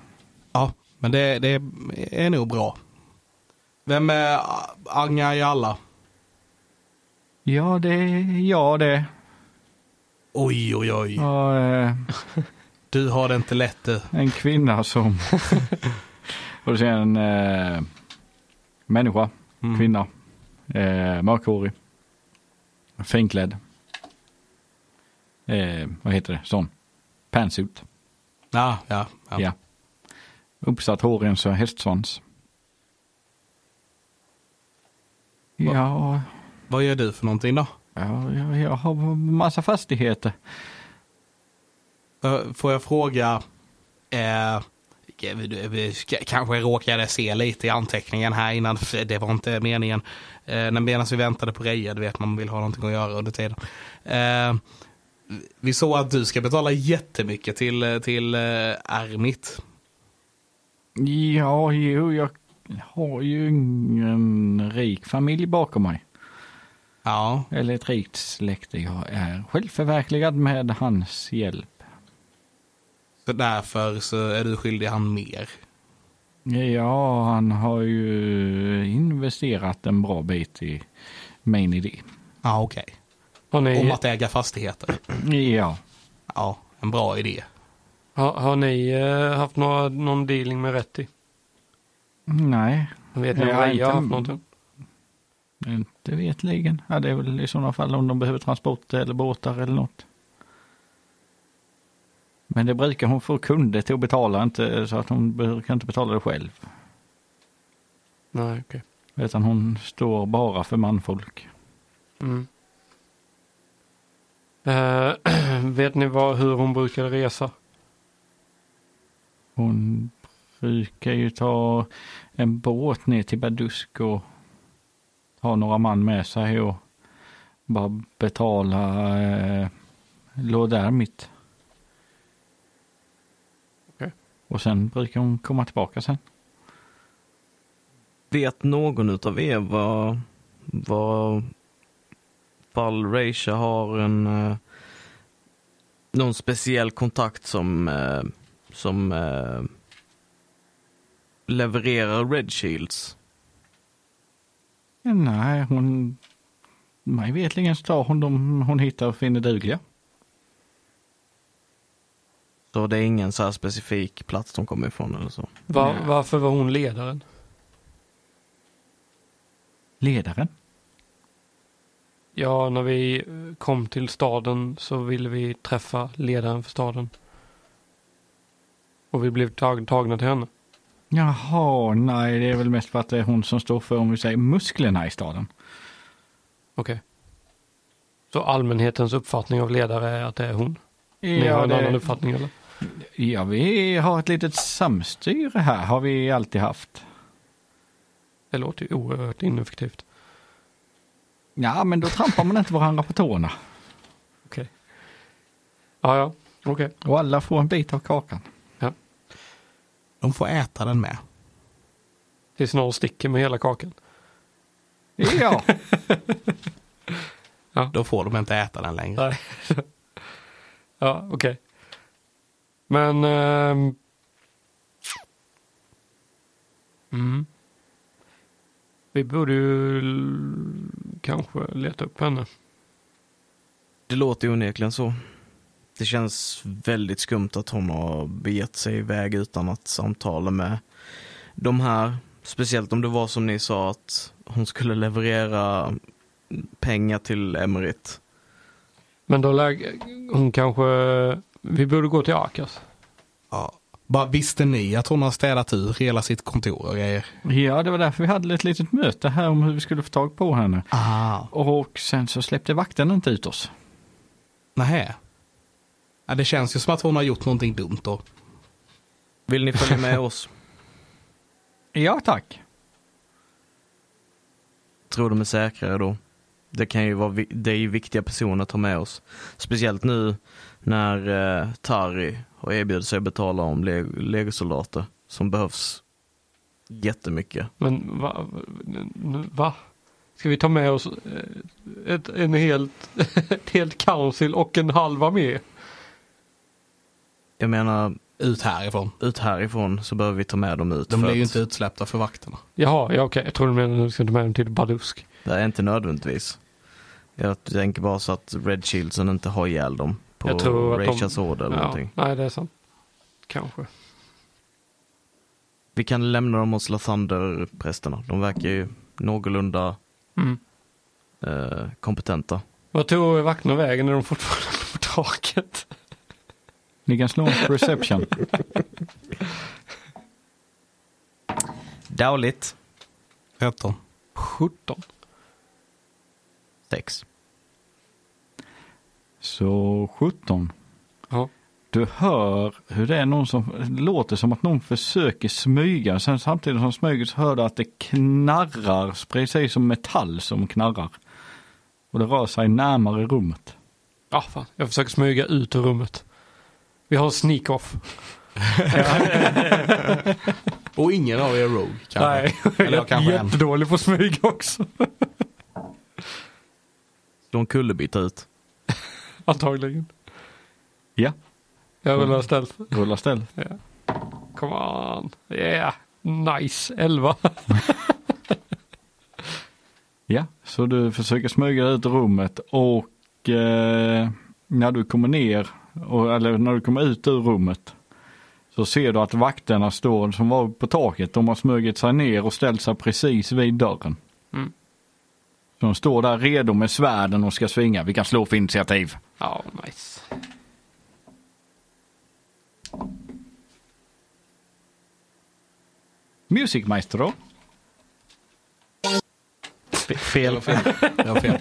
[SPEAKER 1] Ja, men det, det är nog bra. Vem är Anga i alla?
[SPEAKER 3] Ja, det är jag det.
[SPEAKER 1] Oj, oj, oj.
[SPEAKER 3] Och, eh,
[SPEAKER 1] Du har det inte lätt eh. du.
[SPEAKER 3] en kvinna som... och sen en eh, människa,
[SPEAKER 1] Mm.
[SPEAKER 3] kvinna, eh, mörkhårig, finklädd. Eh, vad heter det? Sån. Pantsuit.
[SPEAKER 1] Ja, ja.
[SPEAKER 3] Ja.
[SPEAKER 1] ja. ja.
[SPEAKER 3] Uppsatt hår i en sån hästsvans. Ja,
[SPEAKER 1] Vad gör du för någonting då?
[SPEAKER 3] ja, ja, jag har massa fastigheter.
[SPEAKER 1] Eh, Får jag fråga, eh, k- kanske råkade jag se lite i anteckningen här innan, för det var inte meningen. Eh, när- medan vi väntade på Reja, du vet man vill ha någonting att göra under tiden. Eh, vi såg att du ska betala jättemycket till, eh, till eh, Ermit.
[SPEAKER 3] Ja, jo, jag har ju ingen rik familj bakom mig.
[SPEAKER 1] Ja,
[SPEAKER 3] Eller ett rikt släkte. Jag är självförverkligad med hans hjälp.
[SPEAKER 1] så därför så är du skyldig han mer.
[SPEAKER 3] Ja, han har ju investerat en bra bit i min idé.
[SPEAKER 1] Ja, okej.
[SPEAKER 4] Har
[SPEAKER 1] Om
[SPEAKER 4] ni,
[SPEAKER 1] att äga fastigheter.
[SPEAKER 3] Ja.
[SPEAKER 1] Ja, en bra idé.
[SPEAKER 4] har, har ni eh, haft några, någon dealing med Rätti?
[SPEAKER 3] Nej,
[SPEAKER 4] Vet ni om
[SPEAKER 3] Jag har
[SPEAKER 4] Reja har
[SPEAKER 3] inte-
[SPEAKER 4] haft någonting?
[SPEAKER 3] Inte vetligen. Ja, det är väl i sådana fall om de behöver transport eller båtar eller något. Men det brukar hon få kunder till att betala, inte, så att hon behöver- kan inte betala det själv.
[SPEAKER 4] Nej, okej.
[SPEAKER 3] Utan hon står bara för manfolk.
[SPEAKER 4] Mm. Eh, vet ni vad, hur hon brukade resa?
[SPEAKER 3] Hon brukar ju ta en båt ner till Badusk och ha några man med sig och bara betala eh, låg där mitt.
[SPEAKER 4] Okej.
[SPEAKER 3] Och sen brukar hon komma tillbaka sen.
[SPEAKER 2] Vet någon utav er vad, vad Valracia har en eh, någon speciell kontakt som, eh, som eh, levererar Red Shields?
[SPEAKER 3] Nej, hon... Mig vetligen så tar hon de hon hittar och finner dugliga.
[SPEAKER 2] Så det är ingen så här specifik plats de kommer ifrån eller så?
[SPEAKER 4] Va,
[SPEAKER 3] Nej.
[SPEAKER 4] Varför var hon ledaren?
[SPEAKER 3] Ledaren?
[SPEAKER 4] Ja, när vi eh, kom till staden så ville vi träffa ledaren för staden. Och vi blev tag, tagna till henne.
[SPEAKER 3] Jaha, nej det är väl mest för att det är hon som står för, om vi säger, musklerna i staden.
[SPEAKER 4] Okej. Så allmänhetens uppfattning av ledare är att det är hon? Ni har en annan
[SPEAKER 3] det,
[SPEAKER 4] uppfattning eller?
[SPEAKER 3] ja, vi har ett litet samstyre här, har vi alltid haft.
[SPEAKER 4] Det låter ju oerhört ineffektivt.
[SPEAKER 3] Ja, men då trampar man inte varandra på tårna.
[SPEAKER 4] Okej. Ja, ja. Okej.
[SPEAKER 3] Och alla får en bit av kakan.
[SPEAKER 1] De får äta den med.
[SPEAKER 4] Tills någon sticker med hela kakan.
[SPEAKER 3] Ja,
[SPEAKER 1] Då får de inte äta den längre.
[SPEAKER 4] Nej. ja, okej. Men... ehm, Mm. Vi borde ju l- kanske leta upp henne.
[SPEAKER 2] Det låter ju onekligen så. Det känns väldigt skumt att hon har begett sig iväg utan att samtala med de här. Speciellt om det var som ni sa att hon skulle leverera pengar till Emerit.
[SPEAKER 4] Men då lägger hon kanske... Vi borde gå till Akas.
[SPEAKER 1] Ja. Bara visste ni att hon har städat ur hela sitt kontor och grejer?
[SPEAKER 3] Ja, det var därför vi hade ett litet möte här om hur vi skulle få tag på henne.
[SPEAKER 1] Ah.
[SPEAKER 3] Och sen så släppte vakten inte ut oss.
[SPEAKER 1] Nähä. Ja, det känns ju som att hon har gjort någonting dumt då.
[SPEAKER 2] Vill ni följa med oss?
[SPEAKER 3] Ja, tack.
[SPEAKER 2] Tror de är säkrare då? Det, kan ju vara, vi- det är ju viktiga personer att ta med oss. Speciellt nu när eh, Tari har erbjudit sig att betala om leg- legosoldater som behövs jättemycket.
[SPEAKER 4] Men va? va? Ska vi ta med oss eh, ett, en helt, ett helt council och en halva med?
[SPEAKER 2] Jag menar,
[SPEAKER 1] Ut härifrån.
[SPEAKER 2] ut härifrån så behöver vi ta med dem ut.
[SPEAKER 1] De
[SPEAKER 2] för
[SPEAKER 1] blir ju
[SPEAKER 2] att
[SPEAKER 1] inte utsläppta för vakterna.
[SPEAKER 4] Jaha, ja, okej. Jag tror du menar att vi ska ta med dem till Badusk.
[SPEAKER 2] Det är inte nödvändigtvis. Jag tänker bara så att Red Shieldsen inte har ihjäl dem på
[SPEAKER 4] Jag tror att de-
[SPEAKER 2] Rachas order eller någonting.
[SPEAKER 4] nej, det är sant. Kanske.
[SPEAKER 2] Vi kan lämna dem hos Lathander-prästerna. De verkar ju någorlunda
[SPEAKER 4] Mm.
[SPEAKER 2] eh, kompetenta.
[SPEAKER 4] Vad tog vakterna vägen när de fortfarande på taket?
[SPEAKER 3] Ni kan slå en reception.
[SPEAKER 2] Dåligt.
[SPEAKER 1] 13.
[SPEAKER 4] 17.
[SPEAKER 2] Sex.
[SPEAKER 3] Så 17.
[SPEAKER 4] Ja.
[SPEAKER 3] Du hör hur det är någon som det låter som att någon försöker smyga. Sen samtidigt som smyger så hör du att det knarrar precis som metall som knarrar. Och det rör sig närmare rummet.
[SPEAKER 4] Ah, fan. Jag försöker smyga ut ur rummet. Vi har en sneak-off.
[SPEAKER 1] Och ingen av er är rogue kanske?
[SPEAKER 4] Nej,
[SPEAKER 1] Eller jag
[SPEAKER 4] jag
[SPEAKER 1] kanske
[SPEAKER 4] är
[SPEAKER 1] är en.
[SPEAKER 4] jättedålig på att smyga också.
[SPEAKER 2] Slå en kullerbytta ut.
[SPEAKER 4] Antagligen.
[SPEAKER 3] Ja,
[SPEAKER 4] Jag rullar ställt.
[SPEAKER 3] rulla ställ.
[SPEAKER 4] Come on. Yeah. Nice. 11.
[SPEAKER 3] Ja, så du försöker smyga ut ur rummet och eh, när du kommer ner, och, eller när du kommer ut ur rummet, så ser du att vakterna står, som var på taket, de har smugit sig ner och ställt sig precis vid dörren.
[SPEAKER 4] Mm.
[SPEAKER 3] Så de står där redo med svärden och ska svinga. Vi kan slå för initiativ.
[SPEAKER 4] Ja, nice.
[SPEAKER 3] Music Maestro.
[SPEAKER 2] Fe- fel.
[SPEAKER 1] fel. Det var fel.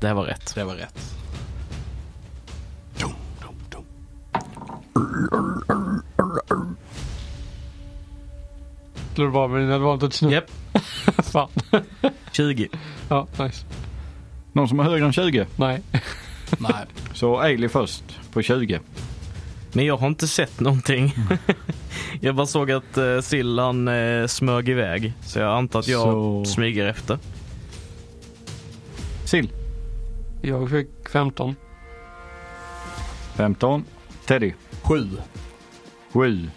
[SPEAKER 2] Det här var rätt.
[SPEAKER 1] Det var rätt. Dum, dum, dum.
[SPEAKER 4] Slår du bara med din advantage nu?
[SPEAKER 2] Japp.
[SPEAKER 4] Fan.
[SPEAKER 2] 20.
[SPEAKER 4] Ja, nice.
[SPEAKER 3] Någon som är högre än 20?
[SPEAKER 4] Nej.
[SPEAKER 1] Nej.
[SPEAKER 3] Så Ailey först på 20.
[SPEAKER 2] Men jag har inte sett någonting. jag bara såg att eh, Sillan eh, smög iväg. Så jag antar att jag
[SPEAKER 3] Så-
[SPEAKER 2] smyger efter.
[SPEAKER 3] Sill.
[SPEAKER 4] Jag fick 15.
[SPEAKER 3] 15. Teddy.
[SPEAKER 1] Sju.
[SPEAKER 3] Sju.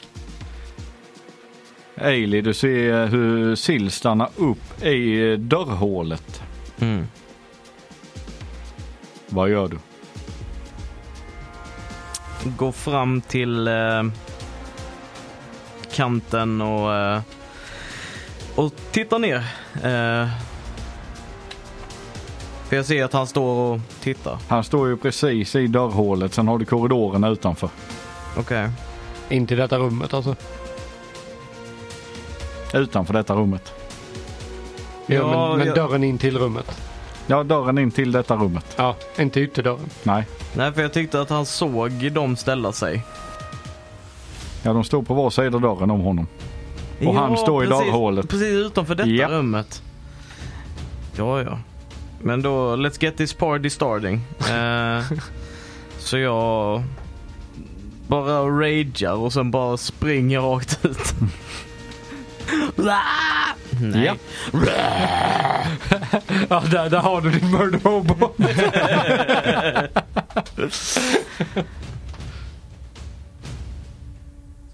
[SPEAKER 3] Ailey, du ser hur Sill stannar upp i eh, dörrhålet.
[SPEAKER 2] Mm.
[SPEAKER 3] Vad gör du?
[SPEAKER 2] Gå fram till eh, kanten och, eh, och titta ner. Eh, för jag ser att han står och tittar.
[SPEAKER 3] Han står ju precis i dörrhålet, sen har du korridoren utanför.
[SPEAKER 2] Okej.
[SPEAKER 4] Inte i detta rummet alltså.
[SPEAKER 3] Utanför detta rummet.
[SPEAKER 4] Ja,
[SPEAKER 2] Ja,
[SPEAKER 4] men, men
[SPEAKER 2] jag-
[SPEAKER 4] dörren in till rummet.
[SPEAKER 3] Ja, dörren in till detta rummet.
[SPEAKER 4] Ja, inte ytterdörren.
[SPEAKER 3] Nej,
[SPEAKER 2] Nej, för jag tyckte att han såg dem ställa sig.
[SPEAKER 3] ja de står på var sida dörren om honom. Och han står i
[SPEAKER 2] precis,
[SPEAKER 3] dörrhålet.
[SPEAKER 2] Precis utanför detta
[SPEAKER 3] Ja.
[SPEAKER 2] rummet. Ja, ja. Men då, let's get this party starting. Eh, så jag bara ragear och sen bara springer rakt ut. Nej.
[SPEAKER 3] Ja.
[SPEAKER 4] Ja, där, där har du din murder hobo.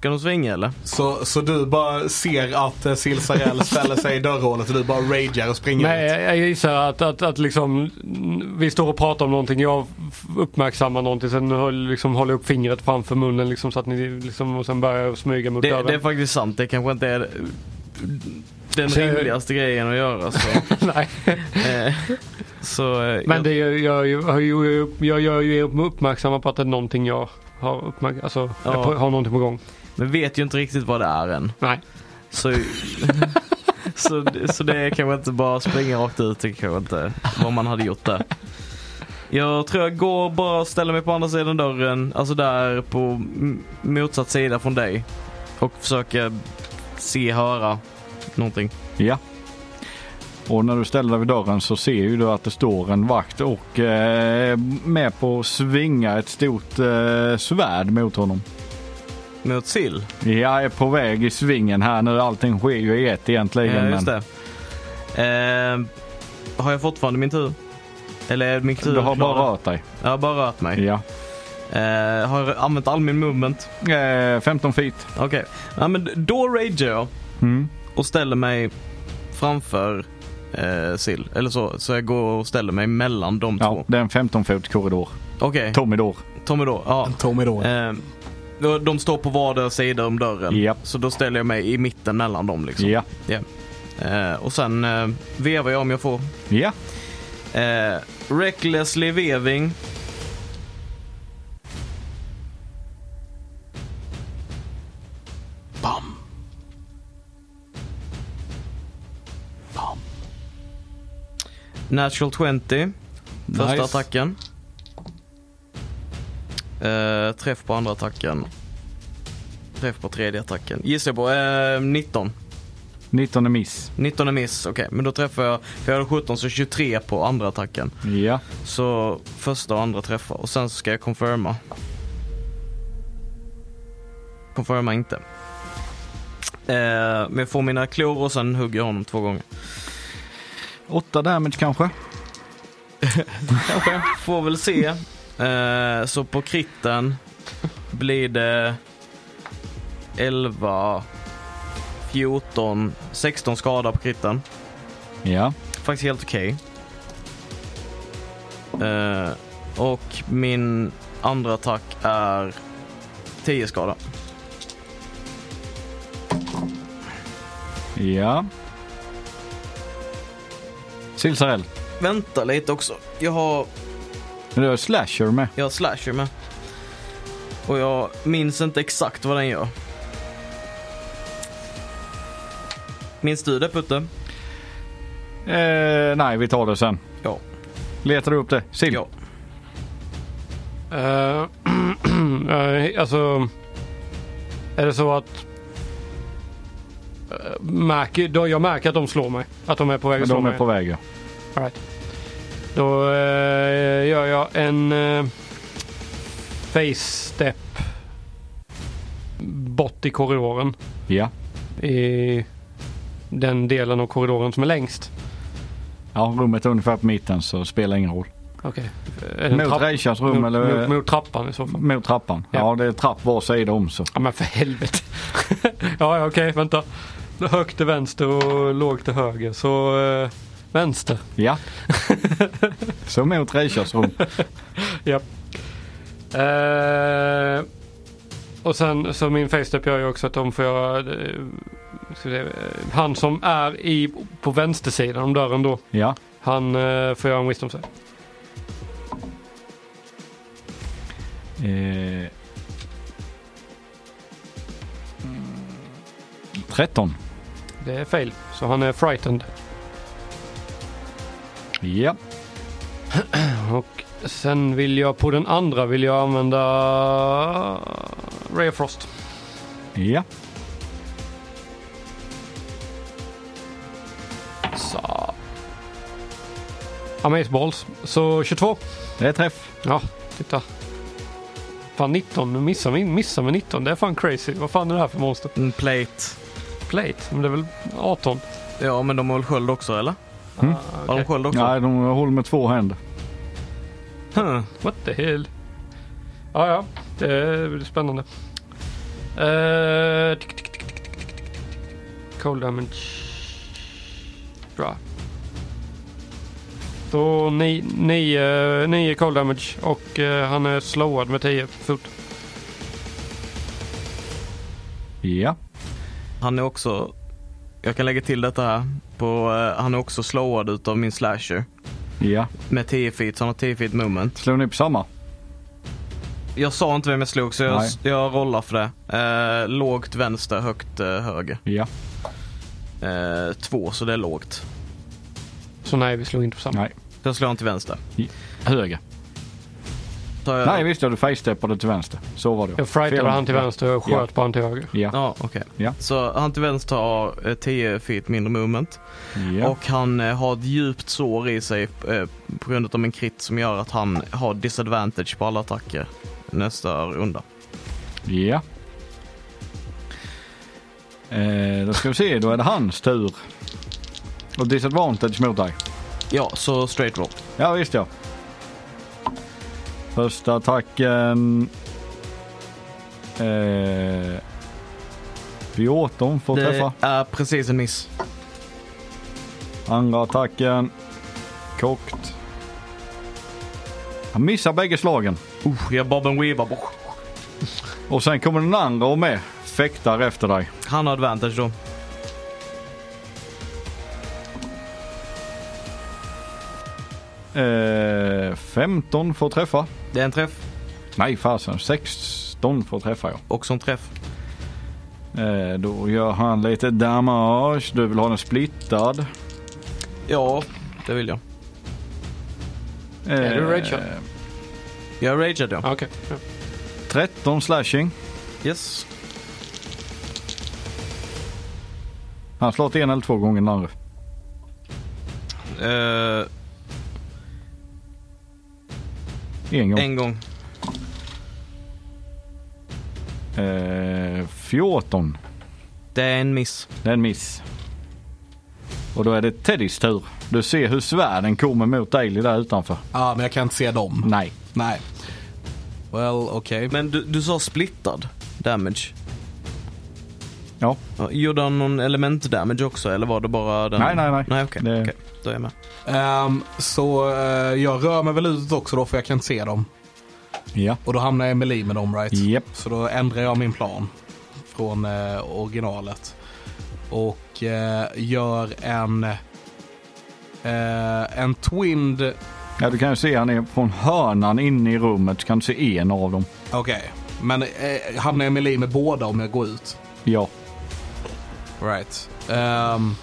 [SPEAKER 2] Kan de svinga eller?
[SPEAKER 1] Så, så du bara ser att eh, Silsarell ställer sig i dörrhålet och du bara ragear och springer
[SPEAKER 4] Nej,
[SPEAKER 1] ut.
[SPEAKER 4] jag, jag gissar att, att, att liksom, mm, vi står och pratar om någonting. Jag f- uppmärksammar någonting. Sen höll- liksom, håller jag upp fingret framför munnen liksom, så att ni, liksom, och sen börjar jag smyga mot
[SPEAKER 2] Det,
[SPEAKER 4] dörren.
[SPEAKER 2] det är faktiskt sant. Det kanske inte är den
[SPEAKER 4] Så-
[SPEAKER 2] rimligaste grejen att göra. Så,
[SPEAKER 4] Nej.
[SPEAKER 2] eh, så, eh,
[SPEAKER 4] Men
[SPEAKER 2] jag-
[SPEAKER 4] det, jag, jag, jag, jag, jag gör ju er uppmärksamma på att det är någonting jag har, uppmärk- alltså,
[SPEAKER 2] Ja.
[SPEAKER 4] jag på- har någonting på gång.
[SPEAKER 2] men vet ju inte riktigt vad det är än.
[SPEAKER 4] Nej.
[SPEAKER 2] Så, så, så det är kanske inte bara springa rakt ut. Det kanske inte vad man hade gjort där. Jag tror jag går bara och ställer mig på andra sidan dörren. Alltså där på m- motsatt sida från dig. Och försöker se, höra någonting.
[SPEAKER 3] Ja. Och när du ställer dig vid dörren så ser ju du att det står en vakt och eh, med på att svinga ett stort eh, svärd mot honom.
[SPEAKER 2] Mot sill.
[SPEAKER 3] Jag är på väg i svingen här nu. Allting sker ju i ett egentligen.
[SPEAKER 2] Ja,
[SPEAKER 3] men-
[SPEAKER 2] just det. Eh, har jag fortfarande min tur? Eller är min tur
[SPEAKER 3] Du har
[SPEAKER 2] klar?
[SPEAKER 3] bara rört dig.
[SPEAKER 2] Jag har bara rört mig.
[SPEAKER 3] Ja.
[SPEAKER 2] Eh, har jag använt all min movement?
[SPEAKER 3] Eh, 15 feet.
[SPEAKER 2] Okej. Ja, men då rager jag
[SPEAKER 3] Mm.
[SPEAKER 2] och ställer mig framför eh, Sill. Eller så. Så jag går och ställer mig mellan de
[SPEAKER 3] Ja,
[SPEAKER 2] två.
[SPEAKER 3] det är en 15 fots korridor.
[SPEAKER 2] Okej,
[SPEAKER 3] Tomidor.
[SPEAKER 2] Tommy då. Ja.
[SPEAKER 1] Tommy då.
[SPEAKER 2] Eh, då- de står på vardera sida om dörren.
[SPEAKER 3] Japp.
[SPEAKER 2] Så då ställer jag mig i mitten mellan dem. Liksom.
[SPEAKER 3] Ja.
[SPEAKER 2] Eh, och sen eh, vevar jag om jag får.
[SPEAKER 3] Ja.
[SPEAKER 2] Eh, recklessly veving.
[SPEAKER 1] Bam. Bam.
[SPEAKER 2] Natural 20. Första
[SPEAKER 1] Nice.
[SPEAKER 2] attacken. Eh, träff på andra attacken. Träff på tredje attacken. Gissar jag på. Eh, 19.
[SPEAKER 3] 19 är miss.
[SPEAKER 2] 19 är miss. Okej, men då träffar jag. För jag hade 17 så 23 på andra attacken.
[SPEAKER 3] Ja.
[SPEAKER 2] Så första och andra träffar. Och sen så ska jag confirma. Confirma inte. Eh, men jag får mina klor och sen hugger jag honom två gånger.
[SPEAKER 3] 8 damage kanske.
[SPEAKER 2] Kanske. Får väl se. Eh, så på kritten blir det 11, 14, 16 skada på kritten.
[SPEAKER 3] Ja.
[SPEAKER 2] Faktiskt helt okej. Eh, och min andra attack är 10 skada.
[SPEAKER 3] Ja. Silsarell.
[SPEAKER 2] Vänta lite också. Jag har,
[SPEAKER 3] Men Du har slasher med.
[SPEAKER 2] jag har slasher med. Och jag minns inte exakt vad den gör. Minns du det Putte?
[SPEAKER 3] Eh, nej, vi tar det sen.
[SPEAKER 2] Ja.
[SPEAKER 3] Letar du upp det? Sill?
[SPEAKER 2] Ja.
[SPEAKER 4] Eh, eh, alltså, är det så att eh, Märker, då, jag märker att de slår mig. Att de är på väg att slå
[SPEAKER 3] De
[SPEAKER 4] mig.
[SPEAKER 3] är på väg ja.
[SPEAKER 4] All right. Då eh, gör jag en eh, face step bort i korridoren.
[SPEAKER 3] Ja.
[SPEAKER 4] I den delen av korridoren som är längst.
[SPEAKER 3] Ja, rummet är ungefär på mitten så det spelar ingen roll.
[SPEAKER 4] Okej.
[SPEAKER 3] Mot Reishas rum
[SPEAKER 4] mot,
[SPEAKER 3] eller
[SPEAKER 4] mot, mot trappan i så fall.
[SPEAKER 3] mot trappan? Ja.
[SPEAKER 4] Ja.
[SPEAKER 3] det är trapp var sida om så.
[SPEAKER 4] Ja men för helvete. ja ja, okej vänta. Högt till vänster och lågt till höger. Så eh, vänster.
[SPEAKER 3] Ja. så mot Reishas rum.
[SPEAKER 4] Ja. Eh, och sen så min facetap gör ju också att de får göra... eh, ska vi se, eh, han som är i, på vänstersidan om dörren då.
[SPEAKER 3] Ja.
[SPEAKER 4] Han eh, får göra en wisdom save.
[SPEAKER 3] Eh. 13.
[SPEAKER 4] Det är fail. Så han är frightened.
[SPEAKER 3] Ja.
[SPEAKER 4] Och sen vill jag på den andra vill jag använda Ray of Frost.
[SPEAKER 3] Ja.
[SPEAKER 4] Så. Amaze balls. Så 22.
[SPEAKER 3] Det är träff.
[SPEAKER 4] Ja, titta. Fan 19, nu missar vi missar med 19. Det är fan crazy. Vad fan är det här för monster?
[SPEAKER 2] En plate.
[SPEAKER 4] Plate? Men det är väl 18?
[SPEAKER 2] Ja, men de har väl sköld också, eller? Ah,
[SPEAKER 3] Mm.
[SPEAKER 2] Har de sköld också?
[SPEAKER 3] Nej, de håller med två händer.
[SPEAKER 2] Hmm.
[SPEAKER 4] What the hell? Ja, ja. Det är spännande. Eh, tick, tick, tick, tick. Cold damage. Bra. Då ni- nio, nio cold damage och eh, han är slowad med 10 fot.
[SPEAKER 3] Ja.
[SPEAKER 2] Han är också... Jag kan lägga till detta här. På, eh, han är också slowad utav min slasher.
[SPEAKER 3] Ja.
[SPEAKER 2] Med 10 feet, så han har 10 feet moment.
[SPEAKER 3] Slår ni på samma?
[SPEAKER 2] Jag sa inte vem jag slog så jag,
[SPEAKER 3] Nej.
[SPEAKER 2] jag rollar för det. Eh, lågt vänster, högt eh, höger.
[SPEAKER 3] Ja.
[SPEAKER 2] Eh, två, så det är lågt.
[SPEAKER 4] Så nej, vi slog inte på samma.
[SPEAKER 3] Nej.
[SPEAKER 2] Så jag slår han till vänster.
[SPEAKER 3] Höger.
[SPEAKER 2] Så jag,
[SPEAKER 3] Nej visst, ja, du face-steppade till vänster. Så var det.
[SPEAKER 4] Jag frightade
[SPEAKER 3] Fel.
[SPEAKER 4] han till vänster och sköt
[SPEAKER 3] Ja.
[SPEAKER 4] på han till höger.
[SPEAKER 3] Ja.
[SPEAKER 2] Ja, okej.
[SPEAKER 3] Ja.
[SPEAKER 2] Så han till vänster har eh, 10 feet mindre movement.
[SPEAKER 3] ja.
[SPEAKER 2] Och han eh, har ett djupt sår i sig eh, på grund av en crit som gör att han har disadvantage på alla attacker nästa runda.
[SPEAKER 3] Ja. Eh, då ska vi se, då är det hans tur. Och disadvantage mot dig.
[SPEAKER 2] Ja, så straight roll.
[SPEAKER 3] Ja visst ja. Första attacken. Eh, 14 får träffa.
[SPEAKER 2] Det är precis en miss.
[SPEAKER 3] Andra attacken. Kokt. Han missar bägge slagen.
[SPEAKER 2] Uh, jag Bob and Weaver. Boh.
[SPEAKER 3] Och sen kommer den andra och med. Fäktar efter dig.
[SPEAKER 2] Han har advantage då.
[SPEAKER 3] Eh, 15 får träffa.
[SPEAKER 2] Det är en träff.
[SPEAKER 3] Nej fasen, 16 får träffa jag.
[SPEAKER 2] Också en träff.
[SPEAKER 3] Eh, då gör han lite damage. Du vill ha den splittad.
[SPEAKER 2] Ja, det vill jag.
[SPEAKER 3] Eh,
[SPEAKER 4] Är du ragehot?
[SPEAKER 2] Jag rageade ja.
[SPEAKER 4] Ah, Okej. Ja.
[SPEAKER 3] 13 slashing.
[SPEAKER 2] Yes.
[SPEAKER 3] Han slår till en eller två gånger den andra.
[SPEAKER 2] Eh,
[SPEAKER 3] En gång.
[SPEAKER 2] en gång.
[SPEAKER 3] Eh, 14.
[SPEAKER 2] Det är en miss.
[SPEAKER 3] Det är en miss. Och då är det Teddys tur. Du ser hur svärden kommer mot Daily där utanför.
[SPEAKER 1] Ja, men jag kan inte se dem.
[SPEAKER 3] Nej.
[SPEAKER 1] Nej. Well, okej.
[SPEAKER 2] Men du, du sa splittad damage.
[SPEAKER 3] Ja.
[SPEAKER 2] Ja, Gjorde han någon element damage också eller var det bara den?
[SPEAKER 3] Nej, nej, nej.
[SPEAKER 2] Nej okej,
[SPEAKER 3] Det-
[SPEAKER 2] okej. då är jag med.
[SPEAKER 1] Ehm, så eh, jag rör mig väl utåt också då för jag kan inte se dem.
[SPEAKER 3] Ja.
[SPEAKER 1] Och då hamnar Emily med dem right?
[SPEAKER 3] Japp.
[SPEAKER 1] Så då ändrar jag min plan från eh, originalet. Och eh, gör en, eh, en twinned...
[SPEAKER 3] Ja, du kan ju se han är från hörnan inne i rummet. Kan du se en av dem?
[SPEAKER 1] Okej, men eh, hamnar Emily med båda om jag går ut?
[SPEAKER 3] Ja.
[SPEAKER 1] Right. Ehm,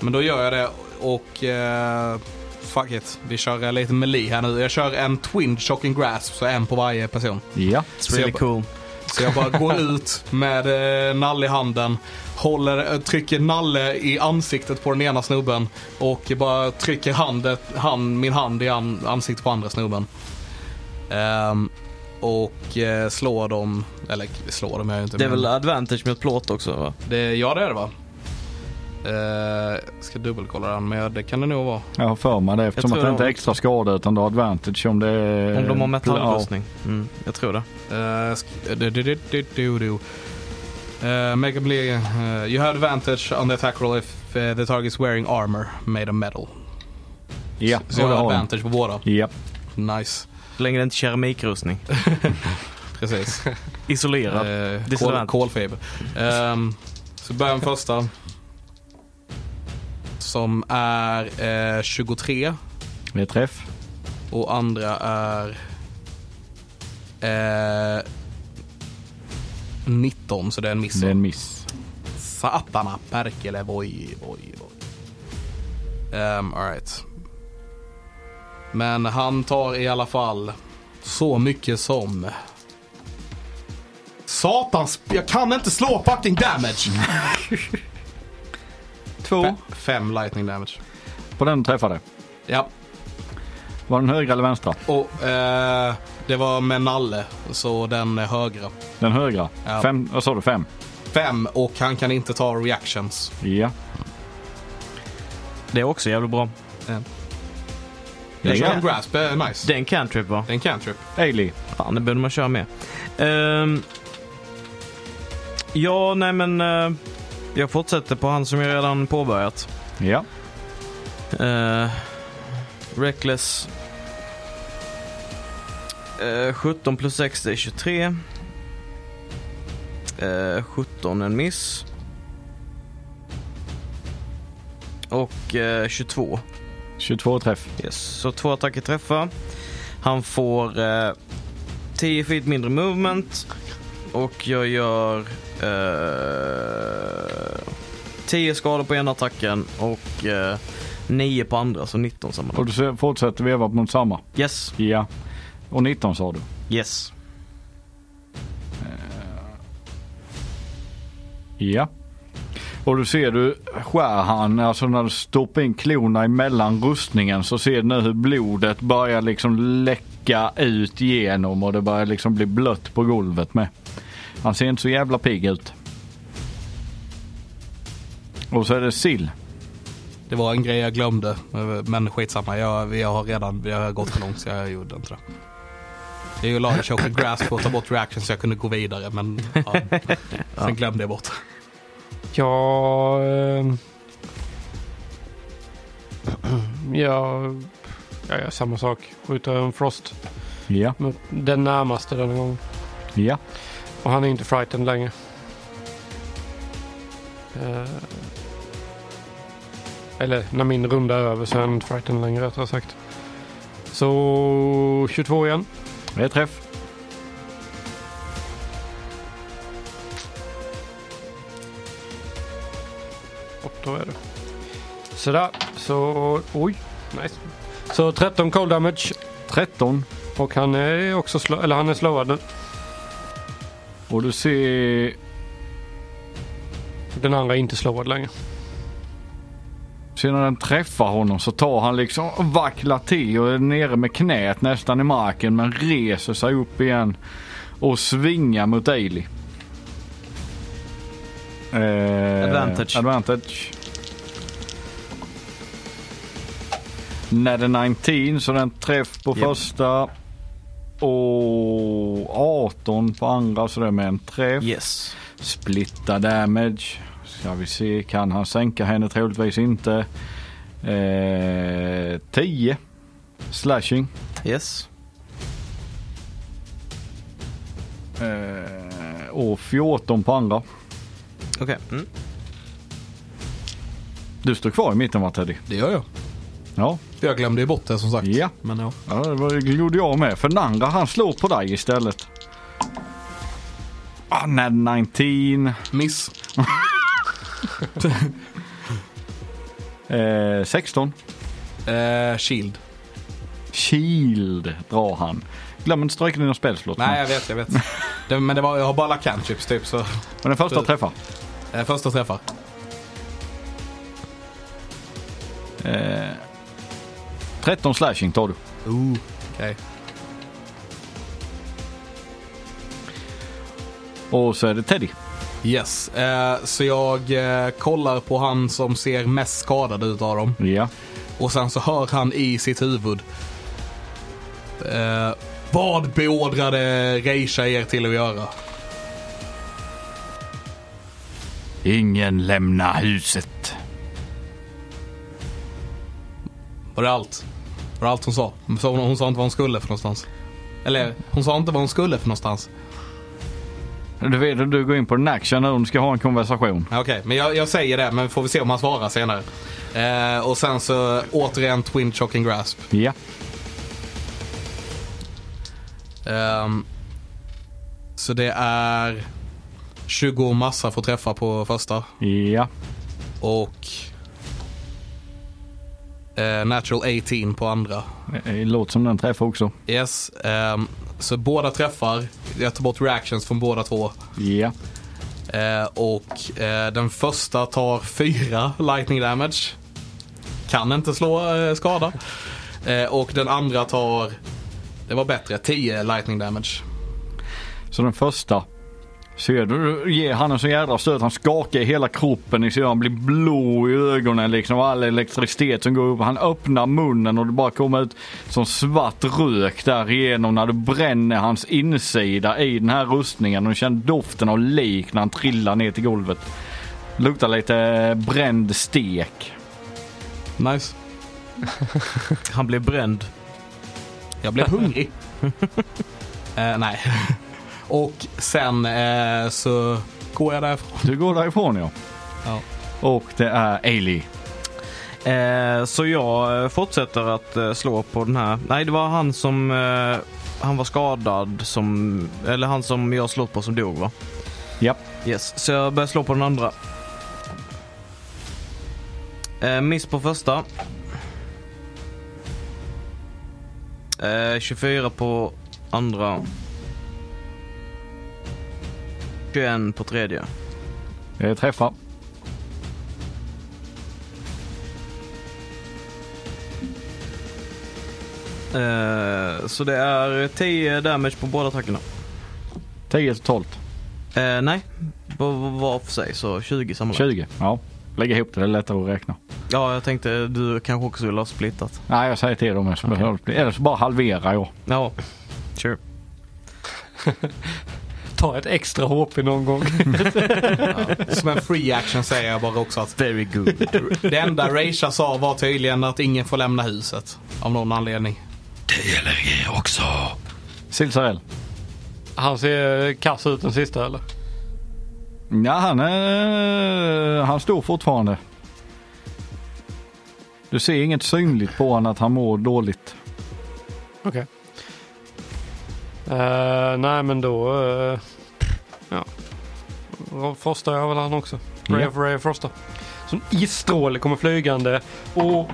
[SPEAKER 1] men då gör jag det och eh, fuck it. Vi kör lite melee här nu. Jag kör en twin shocking grasp, så en på varje person.
[SPEAKER 3] Ja.
[SPEAKER 2] It's really
[SPEAKER 1] jag-
[SPEAKER 2] cool.
[SPEAKER 1] Så jag bara går ut med eh, nalle i handen, håller, eh, trycker nalle i ansiktet på den ena snubben och bara trycker handet, hand, min hand i an, ansiktet på andra snubben. Ehm, och eh, slår dem, eller slår dem jag inte.
[SPEAKER 2] Det är
[SPEAKER 1] men-
[SPEAKER 2] väl advantage mot plåt också va?
[SPEAKER 1] det, ja det är det va? Eh, ska dubbelkolla den, men det kan det nog vara.
[SPEAKER 3] Jag har för mig det eftersom
[SPEAKER 2] tror
[SPEAKER 3] att det
[SPEAKER 2] de-
[SPEAKER 3] inte är extra skada utan du har advantage om det är...
[SPEAKER 2] Om de har
[SPEAKER 3] Ja.
[SPEAKER 2] metallrustning. Mm, jag tror det.
[SPEAKER 1] Eh, sk- du- du- du- du- du- du. Eh, Make a melee, eh, you have advantage on the attack roll if eh, the target is wearing armor made of metal.
[SPEAKER 3] Ja,
[SPEAKER 1] Så jag
[SPEAKER 3] och det
[SPEAKER 1] har
[SPEAKER 3] har de.
[SPEAKER 1] advantage på båda.
[SPEAKER 3] Ja.
[SPEAKER 1] Nice,
[SPEAKER 2] Så länge det inte är keramikrustning.
[SPEAKER 1] precis.
[SPEAKER 2] Isolerad.
[SPEAKER 1] Eh, kol,
[SPEAKER 2] Disadvantage.
[SPEAKER 1] kolfiber. Ehm, så börjar med första. Som är eh, 23
[SPEAKER 3] Det är träff.
[SPEAKER 1] och andra är eh, 19 så det är en miss.
[SPEAKER 3] Det är en miss.
[SPEAKER 1] Satana perkele, voi, voi, voi. Um, Alright. Men han tar i alla fall så mycket som... Satans... Jag kan inte slå fucking damage!
[SPEAKER 3] Två.
[SPEAKER 1] Fe- fem lightning damage.
[SPEAKER 3] På den träffade.
[SPEAKER 1] Ja,
[SPEAKER 3] Var den högra eller vänstra?
[SPEAKER 1] och eh, det var med nalle, så den är högra.
[SPEAKER 3] Den högra.
[SPEAKER 1] Ja.
[SPEAKER 3] Fem, vad sa du? Fem?
[SPEAKER 1] Fem, och han kan inte ta reactions.
[SPEAKER 3] Ja.
[SPEAKER 2] Det är också jävligt bra.
[SPEAKER 1] Den
[SPEAKER 3] Ja.
[SPEAKER 1] kan grasp är nice.
[SPEAKER 2] Det är en cantrip va?
[SPEAKER 1] Den kan trip.
[SPEAKER 3] Ailey.
[SPEAKER 2] Fan, det borde man köra med. Ehm, Ja, nej men eh, jag fortsätter på han som jag redan påbörjat.
[SPEAKER 3] Ja.
[SPEAKER 2] Eh, reckless. Eh, 17 plus 6 det är 23. Eh, 17 en miss. Och eh, 22.
[SPEAKER 3] 22 träff.
[SPEAKER 2] Yes. Så två attacker träffar. Han får eh, 10 feet mindre movement. Och jag gör eh, 10 skador på ena attacken och eh, 9 på andra, så 19
[SPEAKER 3] Och
[SPEAKER 2] sammanlagt.
[SPEAKER 3] du ser- fortsätter veva mot samma.
[SPEAKER 2] Yes,
[SPEAKER 3] Ja. Och 19 sa du.
[SPEAKER 2] yes.
[SPEAKER 3] Ja. Och du ser du skär han, alltså när du stoppar in klorna emellan rustningen så ser du nu hur blodet börjar liksom läcka ut genom och det börjar liksom bli blött på golvet med. Han ser inte så jävla pigg ut. Och så är det sill.
[SPEAKER 1] Det var en grej jag glömde, men skitsamma. Jag, jag har redan jag har gått för långt så jag gjorde inte det. Jag la en choker grasp för att ta bort reaction så jag kunde gå vidare, men ja. sen glömde jag bort.
[SPEAKER 4] Ja... ehm. ja... Jag gör samma sak. Skjuter en frost
[SPEAKER 3] Ja,
[SPEAKER 4] mot den närmaste denna gången.
[SPEAKER 3] ja.
[SPEAKER 4] Och han är inte frightened längre. Eh, eller när min runda är över så är han inte frightened längre rättare sagt. Så 22 igen.
[SPEAKER 3] Det är träff.
[SPEAKER 4] Och då är det. Sådär. Så... Oj. Nice. Så 13 cold damage.
[SPEAKER 3] 13.
[SPEAKER 4] Och han är också slö, eller han är slöad nu.
[SPEAKER 3] Och du ser,
[SPEAKER 4] Den andra är inte slöad längre.
[SPEAKER 3] ser när den träffar honom så tar han liksom och vacklar till och är nere med knät nästan i marken men reser sig upp igen och svingar mot Ailey. Eh,
[SPEAKER 2] Advantage.
[SPEAKER 3] Advantage. När det är 19 så den träff på
[SPEAKER 2] Japp.
[SPEAKER 3] första och 18 på andra så det är med en träff.
[SPEAKER 2] Yes.
[SPEAKER 3] Splitta damage. Ska vi se, kan han sänka henne? Troligtvis inte. Eh, 10. Slashing.
[SPEAKER 2] Yes.
[SPEAKER 3] Eh, och 14 på andra.
[SPEAKER 2] Okej. Mm.
[SPEAKER 3] Du står kvar i mitten va Teddy?
[SPEAKER 1] Det gör jag.
[SPEAKER 3] Ja.
[SPEAKER 1] För jag glömde ju bort det som sagt.
[SPEAKER 3] Ja.
[SPEAKER 1] Men ja.
[SPEAKER 3] ja, det var- det gjorde jag med. För den andra han slår på dig istället. Ah, när 19.
[SPEAKER 1] Miss.
[SPEAKER 3] Eh, 16.
[SPEAKER 1] Eh, shield.
[SPEAKER 3] Shield drar han. Glöm inte stryka dina spelslott.
[SPEAKER 1] Nej, jag vet, jag vet. Det, men det var, jag har bara alla cantrips typ, så
[SPEAKER 3] Men den första träffar.
[SPEAKER 1] eh, första träffar.
[SPEAKER 3] Eh, 13 slashing tar du.
[SPEAKER 1] Ooh, okej.
[SPEAKER 3] Och så är det Teddy.
[SPEAKER 1] Yes, eh, så jag eh, kollar på han som ser mest skadad ut av dem.
[SPEAKER 3] Ja.
[SPEAKER 1] Och sen så hör han i sitt huvud. Eh, vad beordrade Reisha er till att göra?
[SPEAKER 3] Ingen lämnar huset.
[SPEAKER 1] Var det allt? Var det allt hon sa? Hon sa, hon sa inte vad hon skulle för någonstans. Eller hon sa inte vad hon skulle för någonstans.
[SPEAKER 3] Du vet att du går in på den action när du ska ha en konversation.
[SPEAKER 1] Ja, Okej, men jag, jag säger det, men får vi se om han svarar senare. Eh, och sen så återigen Twin Shocking Grasp.
[SPEAKER 3] Ja.
[SPEAKER 1] Ehm, så det är 20 massa får träffa på första.
[SPEAKER 3] Ja.
[SPEAKER 1] Och eh, Natural 18 på andra.
[SPEAKER 3] Det låter som den träffar också.
[SPEAKER 1] Yes. ehm, så båda träffar. Jag tar bort reactions från båda två.
[SPEAKER 3] Ja.
[SPEAKER 1] Eh, och eh, den första tar fyra lightning damage. Kan inte slå eh, skada. Eh, och den andra tar, det var bättre, 10 lightning damage.
[SPEAKER 3] Så den första Ser du, ger han en så jädra stöt. Han skakar i hela kroppen. Ni ser han blir blå i ögonen liksom. All elektricitet som går upp. Han öppnar munnen och det bara kommer ut som svart rök där igenom när du bränner hans insida i den här rustningen. Och du känner doften av lik när han trillar ner till golvet. Luktar lite bränd stek.
[SPEAKER 1] Nice.
[SPEAKER 2] Han blev bränd.
[SPEAKER 1] Jag blev hungrig. Eh, nej. Och sen eh, så går jag därifrån.
[SPEAKER 3] Du går därifrån ja.
[SPEAKER 1] Ja.
[SPEAKER 3] Och det är Ailey.
[SPEAKER 2] Eh, så jag eh, fortsätter att eh, slå på den här. Nej, det var han som... Eh, han var skadad som... Eller han som jag slått på som dog va?
[SPEAKER 3] Japp.
[SPEAKER 2] Yes, så jag börjar slå på den andra. Eh, miss på första. Eh, 24 på andra. 21 på tredje.
[SPEAKER 3] Jag träffar.
[SPEAKER 2] Eh, så det är 10 damage på båda attackerna.
[SPEAKER 3] 10 totalt.
[SPEAKER 2] Eh, nej, på var för sig så 20 sammanlagt.
[SPEAKER 3] 20. Ja. Lägg ihop det, det är lättare att räkna.
[SPEAKER 2] Ja, jag tänkte du kanske också vill ha splittat.
[SPEAKER 3] Nej, jag säger till dem. Okay. Eller så bara halverar jag.
[SPEAKER 2] Ja, sure.
[SPEAKER 4] Ta ett extra HP någon gång.
[SPEAKER 1] Som en free action säger jag bara också att
[SPEAKER 2] Very good.
[SPEAKER 1] det enda Raisha sa var tydligen att ingen får lämna huset. Av någon anledning.
[SPEAKER 3] Silsarell.
[SPEAKER 4] Han ser kass ut den sista eller?
[SPEAKER 3] Ja, han, är, han står fortfarande. Du ser inget synligt på honom att han mår dåligt.
[SPEAKER 4] Okej. Eh, nej men då... eh, ja. Då Frostar jag väl han också. Ray
[SPEAKER 3] Ja.
[SPEAKER 4] of Ray of Frosta. Som isstråle kommer flygande och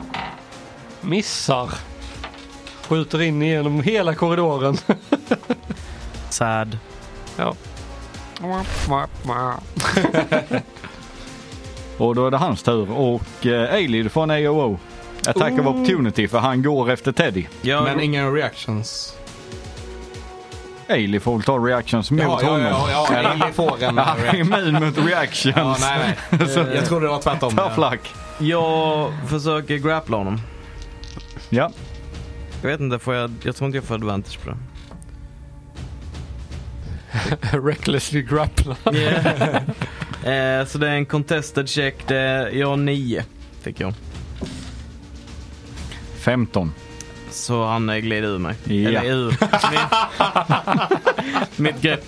[SPEAKER 4] missar. Skjuter in genom hela korridoren.
[SPEAKER 2] Sad.
[SPEAKER 3] Och då är det hans tur och eh, Ailid från AOO. Attack of opportunity för han går efter Teddy.
[SPEAKER 2] Jag,
[SPEAKER 1] Men ingen reactions.
[SPEAKER 3] Ailid får väl ta reactions mot
[SPEAKER 1] Ja, ja,
[SPEAKER 3] honom.
[SPEAKER 1] ja, ja, ja, Lilly får en
[SPEAKER 3] Han är
[SPEAKER 1] reaction.
[SPEAKER 3] immun mot reactions.
[SPEAKER 1] Ja, nej, nej. Eh, Jag trodde det var tvärtom.
[SPEAKER 3] Tough luck.
[SPEAKER 2] jag försöker grappla honom.
[SPEAKER 3] Ja,
[SPEAKER 2] Jag vet inte, får jag, jag tror inte jag får advantage på det.
[SPEAKER 4] Recklessly grappla.
[SPEAKER 2] eh, så det är en contested check. Det är, jag har nio, fick jag.
[SPEAKER 3] 15.
[SPEAKER 2] Så han eh, glider ur mig.
[SPEAKER 3] Ja.
[SPEAKER 2] Eller ur. Mitt- Mitt grepp.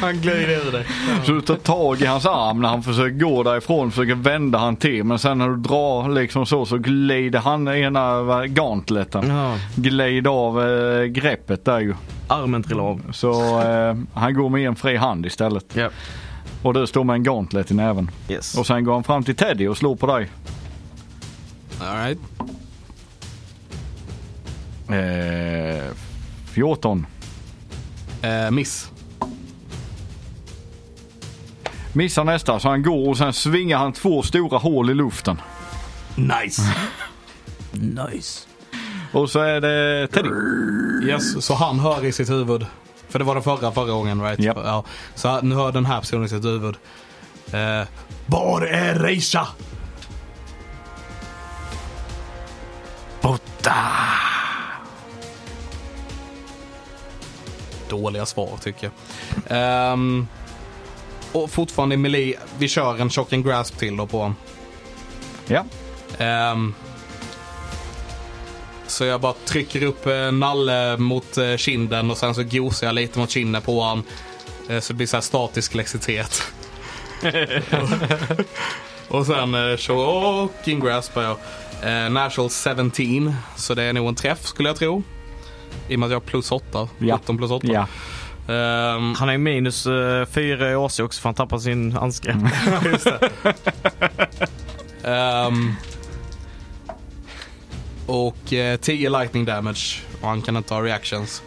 [SPEAKER 1] Han glider ur dig.
[SPEAKER 3] Så du tar tag i hans arm när han försöker gå därifrån, försöker vända han till. Men sen när du drar liksom så, så glider han ena va, gantletten.
[SPEAKER 2] Ja,
[SPEAKER 3] Glider av eh, greppet där ju.
[SPEAKER 2] armen trillar av.
[SPEAKER 3] Så eh, han går med en fri hand istället.
[SPEAKER 2] Ja.
[SPEAKER 3] Och du står med en gauntlet i näven.
[SPEAKER 2] Yes.
[SPEAKER 3] Och sen går han fram till Teddy och slår på dig.
[SPEAKER 1] All right.
[SPEAKER 3] Eh, 14.
[SPEAKER 1] Eh, miss.
[SPEAKER 3] Missar nästa så han går och sen svingar han två stora hål i luften.
[SPEAKER 1] Nice.
[SPEAKER 2] Nice.
[SPEAKER 3] Och så är det Teddy.
[SPEAKER 1] Yes, så han hör i sitt huvud. För det var den förra förra gången right?
[SPEAKER 3] Japp.
[SPEAKER 1] Ja, så nu hör den här personen i sitt huvud. Eh, var är Reisha? Borta! Dåliga svar tycker jag. Ehm, och fortfarande i melee. Vi kör en chock and grasp till då på honom.
[SPEAKER 3] Ja.
[SPEAKER 1] Ehm, så jag bara trycker upp eh, nalle mot eh, kinden och sen så gosar jag lite mot kinden på han. Eh, så det blir så här statisk elektricitet. och sen eh, choking graspar jag. Eh, National 17, så det är nog en träff skulle jag tro. I och med att jag har plus 8.
[SPEAKER 3] Ja.
[SPEAKER 1] 17 plus 8.
[SPEAKER 3] Ja.
[SPEAKER 1] Ehm,
[SPEAKER 2] Han är minus eh, fyra i AC också för han tappar sin handske.
[SPEAKER 3] Mm.
[SPEAKER 1] Ehm, och eh, 10 lightning damage och han kan inte ha reactions.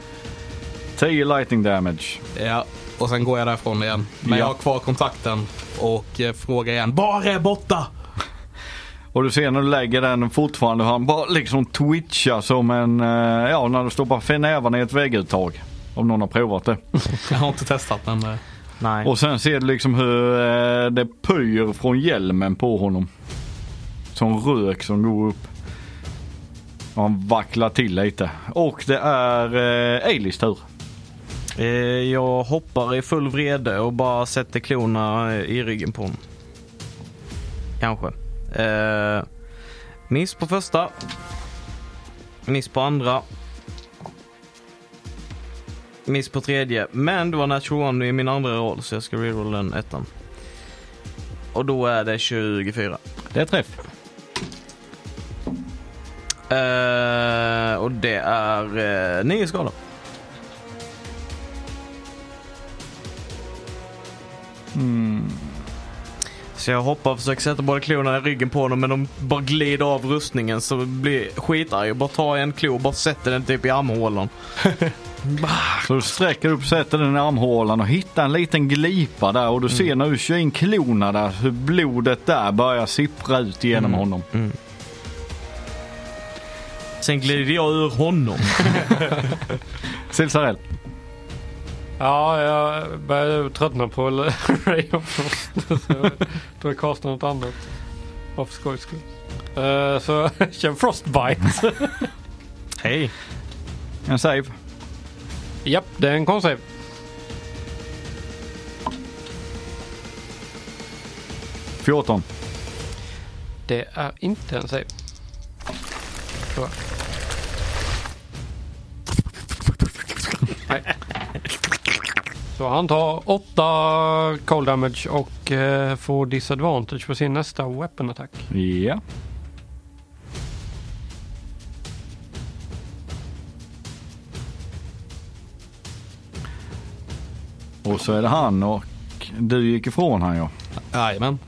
[SPEAKER 3] 10 lightning damage.
[SPEAKER 1] Ja, och sen går jag därifrån igen. Men
[SPEAKER 3] Ja.
[SPEAKER 1] jag har kvar kontakten och eh, frågar igen. Bara är borta!
[SPEAKER 3] Och du ser när du lägger den fortfarande hur han bara liksom twitchar som en, eh, ja när du stoppar nävarna i ett vägguttag. Om någon har provat det.
[SPEAKER 1] Jag har inte testat men... eh,
[SPEAKER 2] Nej.
[SPEAKER 3] Och sen ser du liksom hur eh, det pyr från hjälmen på honom. Som rök som går upp. Och han vacklar till lite. Och det är eh, Eilis tur.
[SPEAKER 2] Eh, jag hoppar i full vrede och bara sätter klorna eh, i ryggen på honom. Kanske. Eh, miss på första. Miss på andra. Miss på tredje. Men det var natural one i min andra roll så jag ska rerolla den ettan. Och då är det 24.
[SPEAKER 3] Det är träff.
[SPEAKER 2] Eh, och det är eh, nio skador. Mm. Så jag hoppar och försöker sätta båda klorna i ryggen på honom men de bara glider av rustningen så jag blir skitarg. Jag bara tar en klo och bara sätter den typ i armhålan.
[SPEAKER 3] Så du sträcker upp, sätter den i armhålan och hittar en liten glipa där och du ser när du kör in klorna där hur blodet där börjar sippra ut genom honom.
[SPEAKER 2] Sen glider jag ur honom.
[SPEAKER 3] Silsarell.
[SPEAKER 4] Ja, jag börjar tröttna på Ray of Frost. Så jag tror jag kastar något annat. Bara för skojs skull. Eh, Så jag kör Frostbite.
[SPEAKER 2] Hej.
[SPEAKER 3] En save.
[SPEAKER 4] Japp, det är en konstig.
[SPEAKER 3] fjorton
[SPEAKER 4] Det är inte en save. Tror jag. Nej. Så han tar 8 cold damage och eh, får disadvantage på sin nästa weapon attack.
[SPEAKER 3] Ja. Och så är det han och du gick ifrån han ja.
[SPEAKER 1] Jajamän.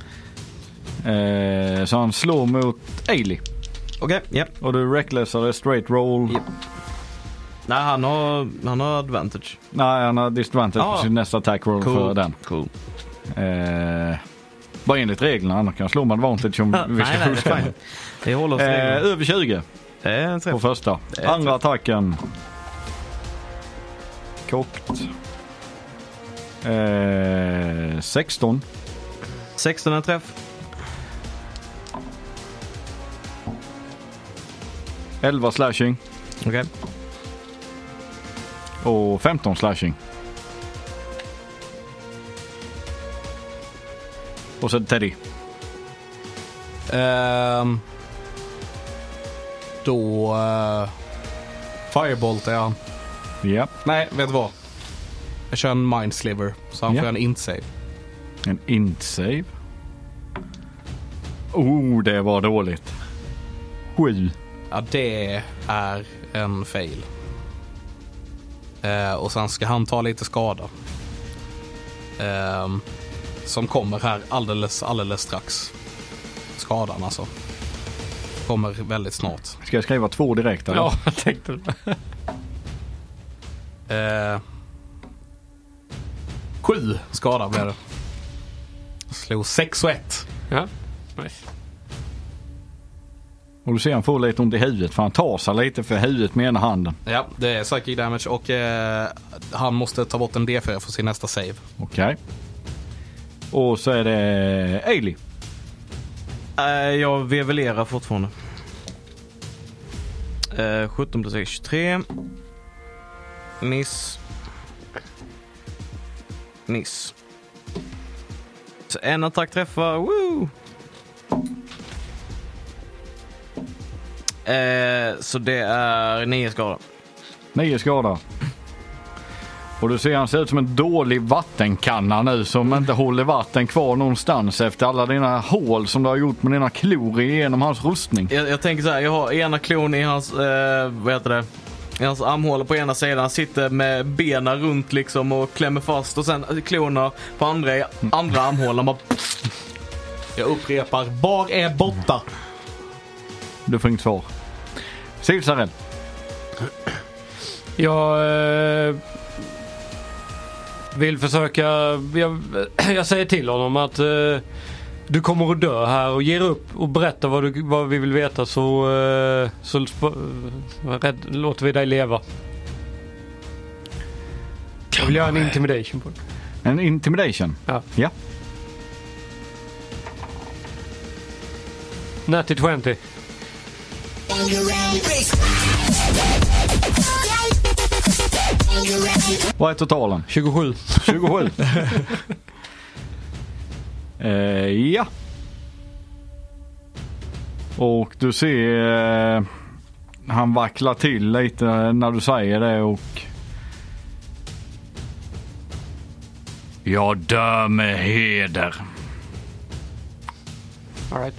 [SPEAKER 3] Eh, så han slår mot Ailey.
[SPEAKER 2] Okej, ja.
[SPEAKER 3] Och du recklessade straight roll.
[SPEAKER 2] Ja. Nej, han har, han har advantage.
[SPEAKER 3] Nej, han har disadvantage
[SPEAKER 2] Ah.
[SPEAKER 3] på sin nästa attack roll för
[SPEAKER 2] Coolt.
[SPEAKER 3] den.
[SPEAKER 2] Cool.
[SPEAKER 3] Eh, bara enligt reglerna, annars kan jag slå med advantage om
[SPEAKER 2] nej,
[SPEAKER 3] vi
[SPEAKER 2] nej,
[SPEAKER 3] ska
[SPEAKER 2] det är
[SPEAKER 3] fuska.
[SPEAKER 2] fine. Vi håller oss
[SPEAKER 3] Eh,
[SPEAKER 2] till reglerna.
[SPEAKER 3] över 20
[SPEAKER 2] Det är en träff.
[SPEAKER 3] på första.
[SPEAKER 2] är
[SPEAKER 3] Andra attacken. Kockt. Eh, 16.
[SPEAKER 2] 16 är en träff.
[SPEAKER 3] 11 slashing
[SPEAKER 2] Okej.
[SPEAKER 3] och 15 slashing. Och så Teddy.
[SPEAKER 1] Ehm, då... Uh, Firebolt är han.
[SPEAKER 3] Ja,
[SPEAKER 1] Nej, vet du vad? Jag kör en mindsliver så han
[SPEAKER 3] Ja.
[SPEAKER 1] får en int-save.
[SPEAKER 3] en int save. Oh, det var dåligt. 7.
[SPEAKER 1] Ja, det är en fail. Eh, och sen ska han ta lite skada. Ehm, som kommer här alldeles, alldeles strax. Skadan alltså. Kommer väldigt snart.
[SPEAKER 3] Ska jag skriva två direkt? Eller?
[SPEAKER 4] Ja, jag tänkte det.
[SPEAKER 1] Eh, sju skada blev det. Slog sex och ett.
[SPEAKER 4] Ja, nice.
[SPEAKER 3] Och du ser han får lite ont i huvudet för han tar sig lite för huvudet med ena handen.
[SPEAKER 1] Ja, det är psychic damage och eh, han måste ta bort en D4 för sin nästa save.
[SPEAKER 3] Okej. Och så är det Ailey.
[SPEAKER 2] Eh, jag vevelerar fortfarande. Eh, 17 plus 6, 23. Miss. Miss. Så en attack träffar. Woo! Eh, så det är nio skador.
[SPEAKER 3] Nio skada. Och du ser han ser ut som en dålig vattenkanna nu som inte håller vatten kvar någonstans efter alla dina hål som du har gjort med dina klor igenom hans rustning.
[SPEAKER 2] Jag, jag tänker så här, jag har ena klon i hans, eh, vad heter det? I hans armhåla på ena sidan, han sitter med benen runt liksom och klämmer fast och sen klorna på andra, i andra armhålan bara
[SPEAKER 1] Jag upprepar, var är borta?
[SPEAKER 3] Du får inget svar. Silsaren.
[SPEAKER 4] Jag eh, vill försöka... Jag, jag säger till honom att eh, du kommer att dö här och ger upp och berättar vad, du, vad vi vill veta så, eh, så sp- eh, rädd, låter vi dig leva. Jag vill göra en intimidation på det.
[SPEAKER 3] En intimidation.
[SPEAKER 4] Ja.
[SPEAKER 3] Ja.
[SPEAKER 4] Natty 20.
[SPEAKER 3] Vad är totalen?
[SPEAKER 4] 27.
[SPEAKER 3] 27. eh, ja. Och du ser eh, han vacklar till lite när du säger det och... Jag dör med heder.
[SPEAKER 4] All right.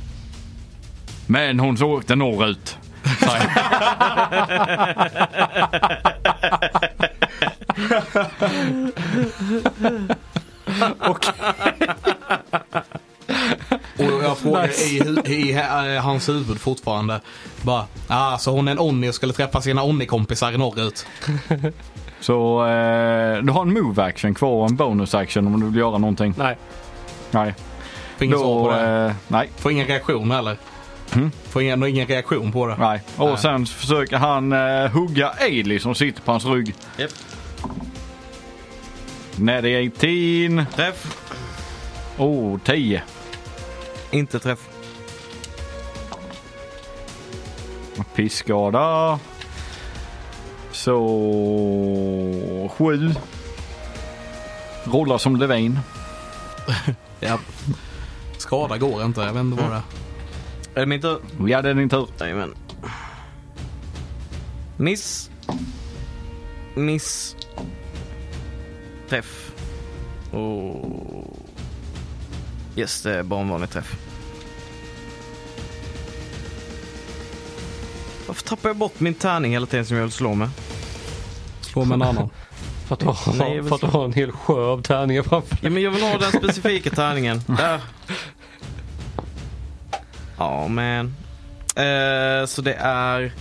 [SPEAKER 3] Men hon åkte norrut. säger han.
[SPEAKER 1] Och jag frågar i, hu- i eh, hans huvud fortfarande. Bara, ah, så hon är en Onni och skulle träffa sina Onni-kompisar norrut.
[SPEAKER 3] Så eh, du har en move action kvar och en bonus action om du vill göra någonting.
[SPEAKER 4] Nej.
[SPEAKER 3] Nej.
[SPEAKER 1] Får ingen svar på det.
[SPEAKER 3] eh, nej.
[SPEAKER 1] Får ingen reaktion heller. Får ingen, ingen reaktion på det.
[SPEAKER 3] Nej. Och
[SPEAKER 1] Nej.
[SPEAKER 3] sen försöker han eh, hugga Ailey som sitter på hans rygg.
[SPEAKER 2] Japp.
[SPEAKER 3] Nej, det är 18.
[SPEAKER 2] Träff.
[SPEAKER 3] Oh, 10.
[SPEAKER 2] Inte träff.
[SPEAKER 3] Pisskada. Så... 7. Rullar som Levin.
[SPEAKER 1] Ja. Skada går inte, jag vet inte vad det är.
[SPEAKER 2] Är det min tur?
[SPEAKER 3] Ja, det är din tur.
[SPEAKER 2] Jajamän. Miss. Miss. Träff. Och... Yes, det är bara en vanlig träff. Varför tappar jag bort min tärning hela tiden som jag vill slå med?
[SPEAKER 1] Slå med en annan.
[SPEAKER 4] För att, ha,
[SPEAKER 2] Nej, jag vill
[SPEAKER 4] för att ha en hel sjö av tärningar framför
[SPEAKER 2] Ja, men jag vill ha den specifika tärningen. Där. Ja, men. Eh, så det är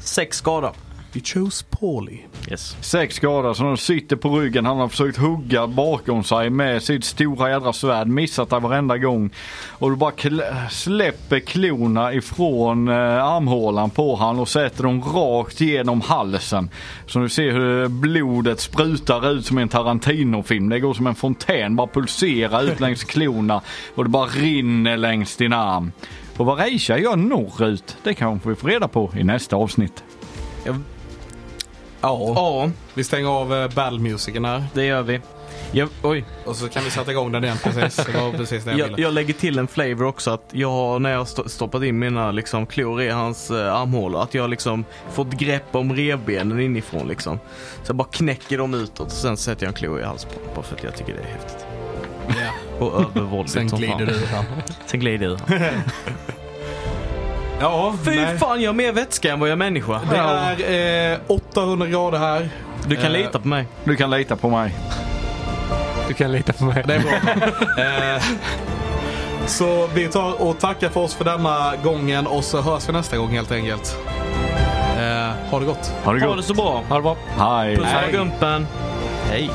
[SPEAKER 2] sex skada.
[SPEAKER 1] You chose poorly.
[SPEAKER 2] Yes.
[SPEAKER 3] Sex skador som de sitter på ryggen. Han har försökt hugga bakom sig med sitt stora jädra svärd. Missat dig varenda gång. Och du bara kl- släpper klorna ifrån eh, armhålan på han och sätter dem rakt genom halsen. Så du ser hur blodet sprutar ut som i en Tarantino-film. Det går som en fontän. Bara pulserar ut längs klorna. Och det bara rinner längs din arm. Och vad Reisha gör norrut, det kanske vi får reda på i nästa avsnitt.
[SPEAKER 1] Ja.
[SPEAKER 2] Ja,
[SPEAKER 1] Vi stänger av eh, battle-musiken här.
[SPEAKER 2] det gör vi. Jag, oj,
[SPEAKER 1] Och så kan vi sätta igång den igen precis. Det var precis det jag ville.
[SPEAKER 2] jag, jag lägger till en flavor också att jag har när jag sto- stoppat in mina liksom, klor i hans eh, armhålor att jag liksom fått grepp om revbenen inifrån liksom. Så jag bara knäcker dem utåt och sen sätter jag en klo i halsen på honom, bara för att jag tycker det är häftigt.
[SPEAKER 1] Ja.
[SPEAKER 2] Och övervåldigt
[SPEAKER 1] Sen
[SPEAKER 2] som fan.
[SPEAKER 1] glider du fram.
[SPEAKER 2] Sen glider du.
[SPEAKER 1] Ja,
[SPEAKER 2] Fy
[SPEAKER 1] nej.
[SPEAKER 2] fan, jag har mer vätska än vad jag är människa.
[SPEAKER 1] Det är eh, 800 grader här.
[SPEAKER 2] du kan
[SPEAKER 1] eh,
[SPEAKER 2] lita på mig.
[SPEAKER 3] Du kan lita på mig.
[SPEAKER 4] Du kan lita på mig.
[SPEAKER 1] Det är bra. eh, så vi tar och tackar för oss för denna gången och så hörs vi nästa gång helt enkelt. Eh, ha det gott.
[SPEAKER 3] Ha det
[SPEAKER 2] Ha det
[SPEAKER 3] gott.
[SPEAKER 2] så bra.
[SPEAKER 4] Ha det bra.
[SPEAKER 3] Hej.
[SPEAKER 2] Puss och
[SPEAKER 1] Hej.
[SPEAKER 2] gumpen. Hej.